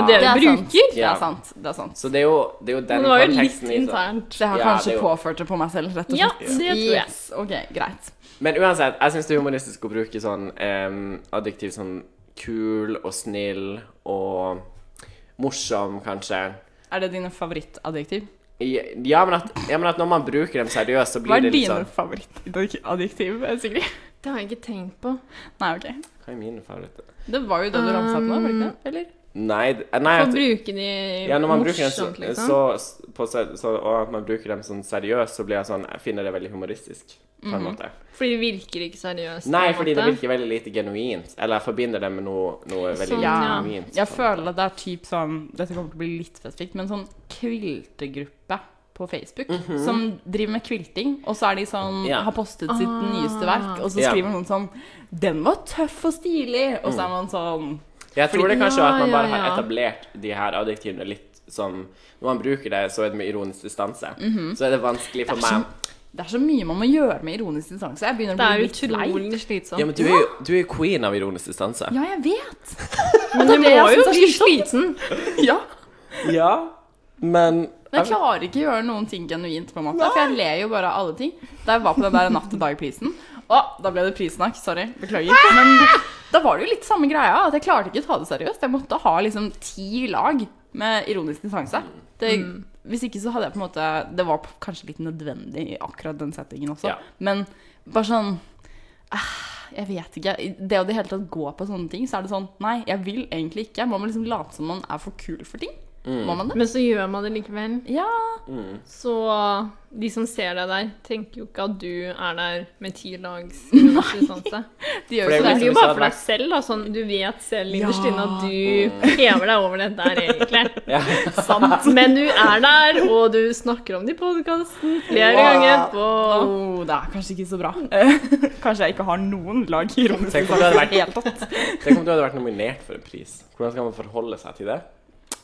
Speaker 2: Ja,
Speaker 1: Det
Speaker 3: dere
Speaker 1: er sant.
Speaker 3: bruker.
Speaker 1: Det
Speaker 2: Ja.
Speaker 1: er sant. Det er sant.
Speaker 2: Så det er jo, det er jo
Speaker 3: Men
Speaker 2: den
Speaker 3: det var jo litt
Speaker 2: konteksten i sånn-
Speaker 3: internt.
Speaker 1: Så jeg har
Speaker 2: Ja,
Speaker 1: kanskje
Speaker 2: det er jo-
Speaker 1: påført det på meg selv, rett og
Speaker 3: Ja,
Speaker 1: slett.
Speaker 3: det tror jeg.
Speaker 1: Yes. OK, greit.
Speaker 2: Men uansett, jeg syns det er humoristisk å bruke sånn em, adjektiv som kul og snill og morsom, kanskje.
Speaker 1: Er det dine favorittadjektiv?
Speaker 2: I- Ja, men at, ja, men at når man bruker dem seriøst, så
Speaker 1: Hva
Speaker 2: blir
Speaker 1: er
Speaker 2: det litt
Speaker 1: dine
Speaker 2: sånn
Speaker 1: favorittadjektiv, Sigrid?
Speaker 3: Det har jeg ikke tenkt på.
Speaker 1: Nei, ok.
Speaker 2: Hva er mine favoritter?
Speaker 1: Det var jo det du ramsa opp nå, var det ikke det? Eller?
Speaker 2: Nei, d- nei
Speaker 3: Få
Speaker 2: at,
Speaker 3: bruke de
Speaker 2: ja, når man bruker dem så,
Speaker 3: morsomt, liksom.
Speaker 2: så, på, se- så, Og at man bruker dem sånn seriøst, så blir jeg sånn Jeg finner det veldig humoristisk, på en måte.
Speaker 3: Fordi det virker ikke seriøst. på
Speaker 2: Nei,
Speaker 3: en
Speaker 2: fordi det
Speaker 3: måte.
Speaker 2: virker veldig lite genuint. Eller jeg forbinder det med noe, noe veldig
Speaker 3: Sånn, ja.
Speaker 2: genuint.
Speaker 1: Jeg føler at det er typ sånn Dette kommer til å bli litt spesifikt, men sånn kviltegruppe på Facebook som driver med kvilting, og så er de sånn
Speaker 2: Mhm. Ja.
Speaker 1: Har postet sitt nyeste verk, og så
Speaker 2: Ja. Mm.
Speaker 1: skriver noen sånn 'Den var tøff og stilig', og så er man sånn
Speaker 2: Jeg tror det kanskje
Speaker 3: Ja,
Speaker 2: at man bare
Speaker 3: ja,
Speaker 2: har
Speaker 3: ja.
Speaker 2: etablert de her adjektivene litt som Når man bruker det, så er det med ironisk distanse. Så er det vanskelig for
Speaker 1: Det er
Speaker 2: meg
Speaker 1: sånn- Det er så mye man må gjøre med ironisk distanse. Jeg begynner
Speaker 3: Det
Speaker 1: å
Speaker 3: er
Speaker 1: bli litt lei.
Speaker 3: utrolig slitsomt.
Speaker 2: Ja, men du er jo du er jo queen av ironisk distanse.
Speaker 1: Ja, jeg vet.
Speaker 3: men du
Speaker 1: det jeg
Speaker 3: må jo
Speaker 1: synes er
Speaker 3: bli
Speaker 1: slitsomt.
Speaker 3: sliten.
Speaker 1: Ja.
Speaker 2: Ja, men
Speaker 1: Men jeg klarer ikke å gjøre noen ting genuint, på en måte. For jeg ler jo bare av alle ting. Da jeg var på den der Natt til dag-prisen Å, da ble det prissnakk. Sorry. Beklager. Men da var det jo litt samme greia. At jeg klarte ikke å ta det seriøst. Jeg måtte ha liksom ti lag med ironisk distanse. Det,
Speaker 2: Mm.
Speaker 1: Hvis ikke så hadde jeg på en måte Det var p- kanskje litt nødvendig i akkurat den settingen også.
Speaker 2: Ja.
Speaker 1: Men bare sånn ah, jeg vet ikke. Det å i det hele tatt gå på sånne ting, så er det sånn Nei, jeg vil egentlig ikke. Må man liksom late som man er for kul for ting?
Speaker 2: Mm.
Speaker 1: Må man det?
Speaker 3: Men så gjør man det likevel.
Speaker 1: Ja.
Speaker 3: Så de som ser deg der, tenker jo ikke at du er der med ti lags distanse.
Speaker 1: De gjør jo så
Speaker 2: For det er jo
Speaker 3: Det er
Speaker 2: liksom hvis
Speaker 3: jo
Speaker 2: det
Speaker 3: bare
Speaker 2: hadde
Speaker 3: for deg
Speaker 2: vært-
Speaker 3: selv. da, sånn, Du vet selv
Speaker 1: Ja.
Speaker 3: innerst inne at du hever deg over det der, egentlig.
Speaker 2: Ja.
Speaker 3: Sant. Men du er der, og du snakker om det i podkasten flere
Speaker 1: Wow.
Speaker 3: ganger etterpå.
Speaker 1: Åh, det er kanskje ikke så bra. kanskje jeg ikke har noen lag i rommet.
Speaker 2: Tenk om du hadde vært-
Speaker 1: helt tatt.
Speaker 2: Tenk om du hadde vært nominert for en pris. Hvordan skal man forholde seg til det?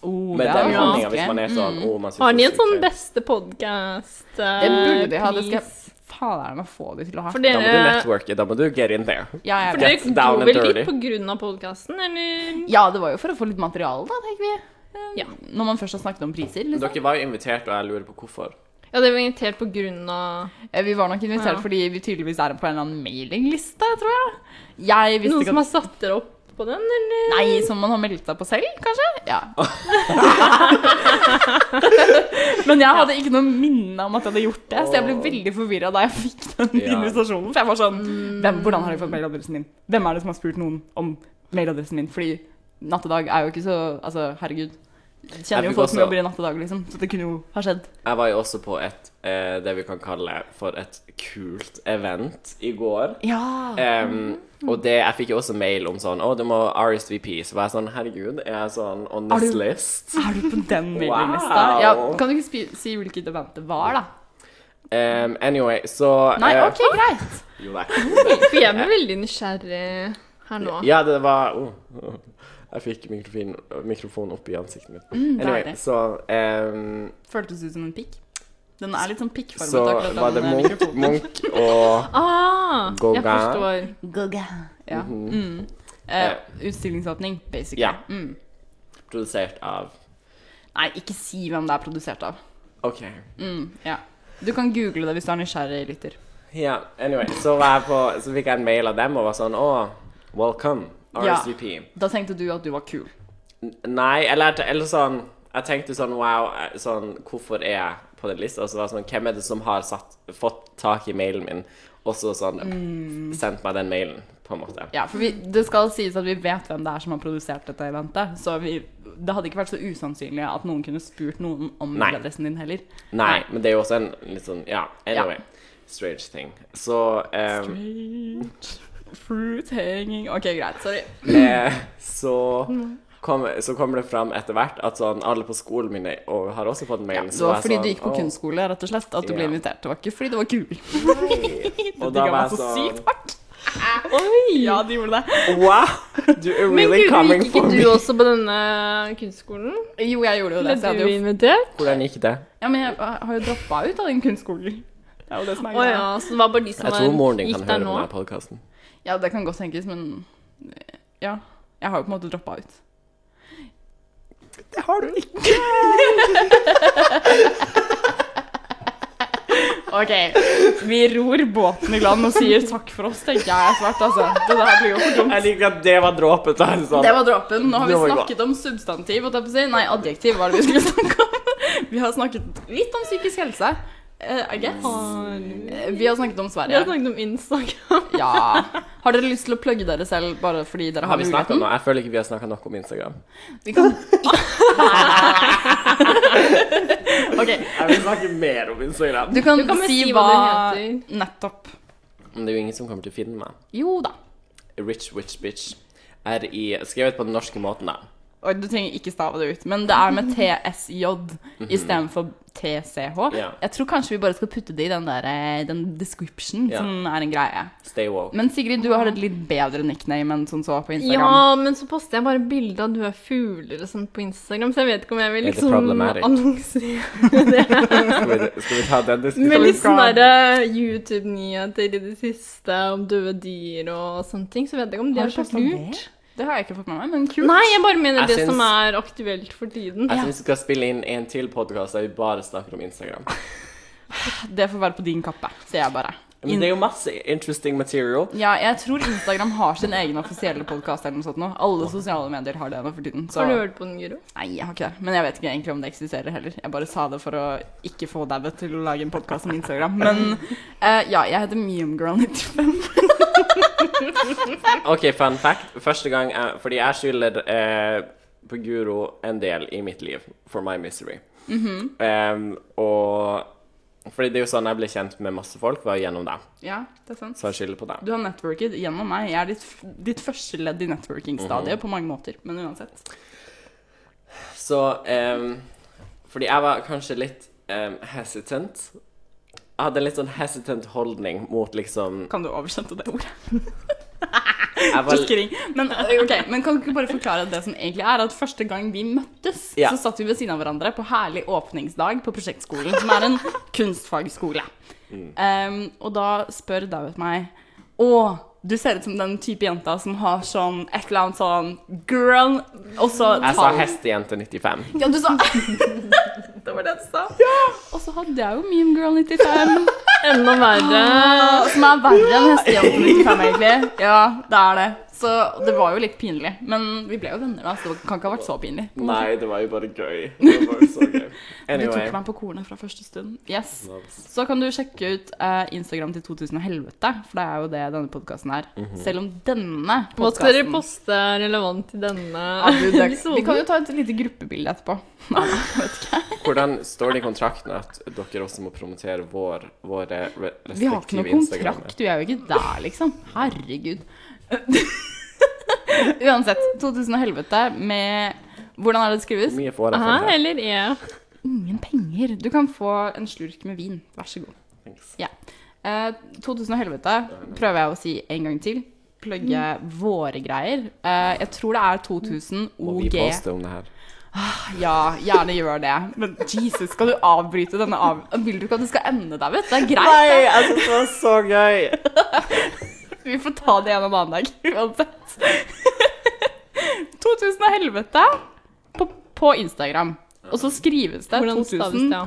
Speaker 1: Oh,
Speaker 2: Med
Speaker 1: det
Speaker 2: den
Speaker 1: er
Speaker 3: jo
Speaker 2: holdninga,
Speaker 1: vanskelig.
Speaker 2: hvis man er sånn oh, man synes
Speaker 3: Har
Speaker 2: det
Speaker 3: de
Speaker 2: er
Speaker 3: en sånn
Speaker 2: sykt gøy».
Speaker 3: beste podkast?
Speaker 1: Det burde de ha. Det skal faderen meg få de til å ha.
Speaker 3: For
Speaker 2: Da må du
Speaker 3: dere,
Speaker 2: networke. Da må du get in there.
Speaker 1: Ja, jeg
Speaker 3: for
Speaker 1: vet.
Speaker 2: Get
Speaker 3: dere
Speaker 2: down
Speaker 3: dro
Speaker 2: and
Speaker 3: vel
Speaker 2: dirty.
Speaker 3: dit på grunn av podkasten, eller?
Speaker 1: ja, det var jo for å få litt materiale, da, tenker vi. Eh,
Speaker 3: Ja.
Speaker 1: Når man først har snakket om priser. Liksom.
Speaker 2: Dere var jo invitert, og jeg lurer på hvorfor.
Speaker 3: Ja, det var invitert på grunn av
Speaker 1: Eh, Vi var nok invitert
Speaker 3: Ja.
Speaker 1: fordi vi tydeligvis er på en eller annen mailingliste, tror jeg. Jeg visste
Speaker 3: Noen
Speaker 1: ikke
Speaker 3: som
Speaker 1: at-
Speaker 3: har satt dere opp på den, eller?
Speaker 1: Nei, som man har meldt seg på selv, kanskje? Ja. Men jeg hadde ikke noe minne om at jeg hadde gjort det, så jeg ble veldig forvirra da jeg fikk den
Speaker 2: Ja.
Speaker 1: invitasjonen. For jeg var sånn hvem, Hvordan har jeg fått mailadressen min? Hvem er det som har spurt noen om mailadressen min? Fordi Natt og Dag er jo ikke så Altså, herregud. Jeg Kjenner
Speaker 2: Jeg
Speaker 1: jo
Speaker 2: fikk
Speaker 1: folk som
Speaker 2: også-
Speaker 1: jobber i Natt og Dag, liksom. Så det kunne jo ha skjedd.
Speaker 2: Jeg var jo også på et eh, det vi kan kalle for et kult event i går.
Speaker 1: Ja.
Speaker 2: Em, og det, jeg fikk jo også mail om sånn Å, du må RSVP. Så var jeg sånn Herregud, er jeg sånn on
Speaker 1: Har
Speaker 2: this
Speaker 1: du-
Speaker 2: list?
Speaker 1: Er du på den mailinglista?
Speaker 2: Wow.
Speaker 1: Ja, kan du ikke spi- si hvilket event det var, da?
Speaker 2: Em, anyway, så
Speaker 1: Nei,
Speaker 2: eh,
Speaker 1: OK, greit.
Speaker 2: Jo, nei.
Speaker 3: For jeg ble veldig nysgjerrig her nå.
Speaker 2: Ja, det var oh, oh. Jeg fikk mikrofonen mikrofon opp i ansiktet mitt. anyway,
Speaker 1: Mm, deilig.
Speaker 2: så em,
Speaker 1: Føltes ut som en pikk. Den er litt sånn pikkformet.
Speaker 2: Så
Speaker 1: akkurat
Speaker 2: var det
Speaker 1: den, eh,
Speaker 2: Munch,
Speaker 1: mikrofonen.
Speaker 2: Munch og
Speaker 3: Ah,
Speaker 2: Gauguin.
Speaker 3: jeg forstår.
Speaker 1: Ja. Mm. Eh, utstillingsåpning, basically.
Speaker 2: Mhm. Ja.
Speaker 1: Mm.
Speaker 2: Produsert av
Speaker 1: Nei, ikke si hvem det er produsert av.
Speaker 2: OK.
Speaker 1: Mm. Ja. Du kan google det hvis du er nysgjerrig lytter.
Speaker 2: Ja, anyway, så, var jeg på, så fikk jeg en mail av dem og var sånn Å, welcome,
Speaker 1: Ja.
Speaker 2: RSVP.
Speaker 1: Da tenkte du at du var kul.
Speaker 2: N- Nei, eller, eller sånn Jeg tenkte sånn wow, eh, sånn Hvorfor er jeg på den lista? Og så var det sånn Hvem er det som har satt, fått tak i mailen min, og så sånn
Speaker 1: Mm.
Speaker 2: Sendt meg den mailen, på en måte.
Speaker 1: Ja, for vi, Det skal sies at vi vet hvem det er som har produsert dette eventet. Så vi, det hadde ikke vært så usannsynlig at noen kunne spurt noen om
Speaker 2: Nei.
Speaker 1: mailadressen din heller.
Speaker 2: Nei, men det er jo også en litt sånn Ja, anyway. Strange thing. Så eh,
Speaker 1: Fruit hanging OK, greit. Sorry.
Speaker 2: eh, så
Speaker 1: Mm.
Speaker 2: kom, så kommer det fram etter hvert at sånn alle på skolen min er- og har også fått mail.
Speaker 1: Ja, det
Speaker 2: så
Speaker 1: var
Speaker 2: jeg
Speaker 1: fordi
Speaker 2: sånn,
Speaker 1: du gikk på
Speaker 2: «Å».
Speaker 1: kunstskole rett og slett, at du ble
Speaker 2: Ja.
Speaker 1: invitert. Det var ikke fordi du var kul.
Speaker 2: Og
Speaker 1: Det
Speaker 2: da
Speaker 1: ga
Speaker 2: var
Speaker 1: meg
Speaker 2: jeg
Speaker 1: så sykt
Speaker 2: sånn
Speaker 1: hardt. Oi! Ja, det gjorde det.
Speaker 2: Wow! Du er
Speaker 3: Men
Speaker 2: really
Speaker 3: Guri,
Speaker 2: coming
Speaker 3: gikk ikke
Speaker 2: for
Speaker 3: du
Speaker 2: me.
Speaker 3: også på denne kunstskolen?
Speaker 1: Jo, jeg gjorde jo
Speaker 3: Ble
Speaker 1: det. Så jeg
Speaker 3: du
Speaker 1: hadde jo
Speaker 3: invitert?
Speaker 2: Hvordan gikk det?
Speaker 1: Ja, men jeg har jo droppa ut av den kunstskolen. Det er jo det som
Speaker 3: Å
Speaker 1: er greia.
Speaker 3: ja, så det var bare de som
Speaker 2: Jeg tror
Speaker 3: var,
Speaker 2: moren din
Speaker 3: gikk
Speaker 2: kan
Speaker 3: der
Speaker 2: høre på
Speaker 3: nå?
Speaker 2: denne podkasten.
Speaker 1: Ja, det kan godt tenkes, men eh, ja. Jeg har jo på en måte droppa ut.
Speaker 2: Det har du ikke.
Speaker 1: OK. Vi ror båten i land og sier takk for oss, tenker jeg er svart, altså. Det der blir jo for dumt.
Speaker 2: Jeg liker at det var dråpen. da er det sånn.
Speaker 1: Det var dråpen. Nå har
Speaker 2: Det
Speaker 1: vi
Speaker 2: var bra.
Speaker 1: snakket om substantiv. holdt jeg på å si. Nei, adjektiv var det vi skulle snakke om. Vi har snakket litt om psykisk helse. eh, I guess. Eh, Vi har snakket om
Speaker 3: Vi har
Speaker 1: Sverige.
Speaker 3: snakket om Instagram.
Speaker 1: Ja. Har dere lyst til å plugge dere selv bare fordi dere har,
Speaker 2: Har vi snakket om
Speaker 1: muligheten?
Speaker 2: noe? Jeg føler ikke vi har snakket nok om Instagram.
Speaker 1: Vi kan... OK.
Speaker 2: Jeg vil snakke mer om Instagram.
Speaker 1: Du kan,
Speaker 3: Du kan vel
Speaker 1: si,
Speaker 3: si
Speaker 1: hva,
Speaker 3: hva det heter.
Speaker 1: Nettopp.
Speaker 2: Men det er jo ingen som kommer til å finne meg.
Speaker 1: Jo da.
Speaker 2: Rich Witch Bitch. R-I Skrevet på den norske måten, da.
Speaker 1: Og du trenger ikke stave det ut, men det er med TSJ istedenfor TCH.
Speaker 2: Mhm. Ja.
Speaker 1: Jeg tror kanskje vi bare skal putte det i den, der, eh, den description
Speaker 2: Ja.
Speaker 1: som er en greie.
Speaker 2: Stay woke.
Speaker 1: Men Sigrid, du har et litt bedre nickname enn sånn så på Instagram.
Speaker 3: Ja, men så poster jeg bare bilder av døde fugler og sånt på Instagram, så jeg vet ikke om jeg vil
Speaker 2: Er det
Speaker 3: liksom
Speaker 2: problematic?
Speaker 3: annonsere det.
Speaker 2: Skal vi, skal vi ta den
Speaker 3: Med
Speaker 2: diskusjonen?
Speaker 3: litt sånne der, eh, YouTube-nyheter i det siste om døde dyr og sånne ting, så vet jeg ikke om det
Speaker 1: Har
Speaker 3: er
Speaker 1: du
Speaker 3: så
Speaker 1: postet
Speaker 3: lurt.
Speaker 1: Det har jeg ikke fått med meg, men kult.
Speaker 3: Nei, jeg bare mener
Speaker 2: Jeg
Speaker 3: det som
Speaker 2: syns-
Speaker 3: er aktuelt for tiden.
Speaker 2: Jeg syns vi skal spille inn en til podkast der vi bare snakker om Instagram.
Speaker 1: Det får være på din kappe, sier jeg bare.
Speaker 2: Men det er jo masse interesting material.
Speaker 1: Ja, jeg tror Instagram har sin egen offisielle podkast eller noe sånt nå. Alle sosiale medier har det nå for tiden. Så
Speaker 3: Har du hørt på den, Guro?
Speaker 1: nei, jeg har ikke det. Men jeg vet ikke egentlig om det eksisterer heller. Jeg bare sa det for å ikke få dauet til å lage en podkast om Instagram. Men eh, ja, jeg heter Meumgirl95.
Speaker 2: OK, fun fact. Første gang jeg, Fordi jeg skylder eh, på Guro en del i mitt liv. For my misery. Em, og Fordi det er jo sånn jeg ble kjent med masse folk, var gjennom deg.
Speaker 1: Ja, det er sant.
Speaker 2: Så jeg skylder på deg.
Speaker 1: Du har networket gjennom meg. Jeg er ditt, f- ditt første ledd i networking-stadiet på mange måter, men uansett.
Speaker 2: Så em, Fordi jeg var kanskje litt em, hesitant. Jeg hadde en litt sånn hesitant holdning mot liksom
Speaker 1: Kan du oversette det ordet?
Speaker 2: jeg var,
Speaker 1: Just kidding. Men, ok, men kan du ikke bare forklare det som egentlig er at første gang vi møttes,
Speaker 2: Ja.
Speaker 1: så satt vi ved siden av hverandre på herlig åpningsdag på prosjektskolen, som er en kunstfagskole.
Speaker 2: Mm.
Speaker 1: Um, og da spør David meg Å, du ser ut som den type jenta som har sånn et eller annet sånn girl Og så
Speaker 2: Jeg sa
Speaker 1: tall.
Speaker 2: hestejente 95.
Speaker 1: Ja, du sa Det var det jeg sa. Og så hadde jeg jo Meme Girl 95.
Speaker 3: Enda verre.
Speaker 1: Ja, Som er verre enn hestejente 95, egentlig. Ja, det er det. Så det var jo litt pinlig. Men vi ble jo venner, da, så det kan ikke ha vært så pinlig.
Speaker 2: Nei, det var jo bare gøy. Det var jo så gøy.
Speaker 1: Du tok
Speaker 2: Anyway.
Speaker 1: meg på kornet fra første stund. Yes. Så kan du sjekke ut eh, Instagram til 2000 og helvete, for det er jo det denne podkasten er.
Speaker 2: Mhm.
Speaker 1: Selv om denne
Speaker 3: Hva skal dere
Speaker 1: podkasten-
Speaker 3: poste relevant til denne
Speaker 1: Ja, du, Ah, det- Vi kan
Speaker 3: episoden?
Speaker 1: jo ta et lite gruppebilde etterpå.
Speaker 2: Hvordan står det i kontrakten at dere også må promotere vår, våre re-
Speaker 1: Vi har ikke
Speaker 2: respektive
Speaker 1: noen
Speaker 2: Instagrammer?
Speaker 1: kontrakt, du er jo ikke der, liksom. Herregud. Uansett, 2000 og helvete med Hvordan er det det skrives?
Speaker 2: Hvor mye får jeg
Speaker 3: Hæ,
Speaker 2: for det?
Speaker 3: eller E. er
Speaker 1: Ingen penger. Du kan få en slurk med vin. Vær så god.
Speaker 2: Thanks.
Speaker 1: Ja. Eh, 2000 og helvete prøver jeg å si en gang til. Plugge våre greier. Eh, jeg tror det er 2000
Speaker 2: Må vi
Speaker 1: OG.
Speaker 2: poste om det her?
Speaker 1: Ja, gjerne gjør det. Men Jesus, skal du avbryte denne av... Vil du ikke at det skal ende der, vet du? Det er greit.
Speaker 2: Nei, jeg synes det var så gøy!
Speaker 1: Vi får ta det igjen en annen dag, uansett. 2000 og helvete på, på Instagram. Og så skrives det
Speaker 3: Hvordan staves
Speaker 1: 2000
Speaker 3: det?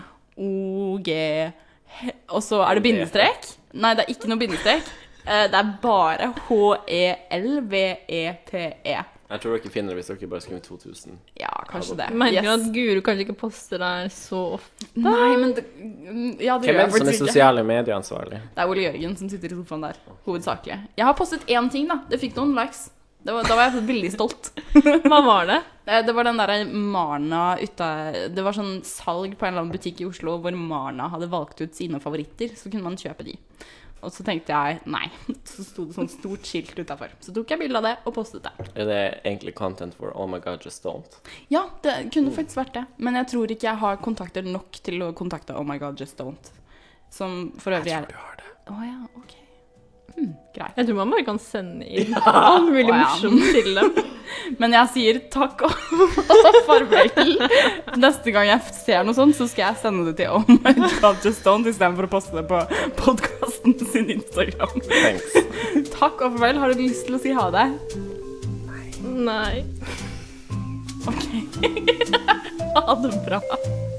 Speaker 1: OG he- Og så er det bindestrek. Nei, det er ikke noe bindestrek. Eh, Det er bare E H-E-L-V-E-T-E.
Speaker 2: Jeg tror dere finner det hvis dere bare skriver 2000.
Speaker 1: E. Ja, kanskje det.
Speaker 3: Merker
Speaker 1: Yes.
Speaker 3: at Guro kanskje ikke poster der så ofte.
Speaker 1: Nei, men det, mm, Ja, det
Speaker 2: Hvem
Speaker 1: gjør jeg
Speaker 2: er det som er
Speaker 1: faktisk ikke.
Speaker 2: sosiale medieansvarlig?
Speaker 1: Det er Ole Jørgen som sitter i sofaen der, hovedsakelig. Jeg har postet én ting, da. Det fikk noen likes. Det var, da var jeg veldig stolt.
Speaker 3: Hva var det?
Speaker 1: Eh, Det var den derre Marna uta Det var sånn salg på en eller annen butikk i Oslo hvor Marna hadde valgt ut sine favoritter, så kunne man kjøpe de. Og så tenkte jeg nei. Så sto det sånn stort skilt utafor. Så tok jeg bilde av det og postet det.
Speaker 2: Er det egentlig content for Oh my god, just don't?
Speaker 1: Ja, det kunne faktisk vært det. Men jeg tror ikke jeg har kontakter nok til å kontakte Oh my god, just don't. Som for øvrig er
Speaker 2: Du har det.
Speaker 1: Å ja, OK. Hmm, greit.
Speaker 3: Jeg tror man bare kan sende inn alt mulig
Speaker 1: Å, ja.
Speaker 3: morsomt til dem.
Speaker 1: Men jeg sier takk og, og farvel. Neste gang jeg ser noe sånt, så skal jeg sende det til Oh My God Just Don't istedenfor å poste det på podkasten sin Instagram.
Speaker 2: Thanks.
Speaker 1: Takk og farvel. Har du lyst til å si ha det?
Speaker 3: Nei.
Speaker 1: Ha det bra.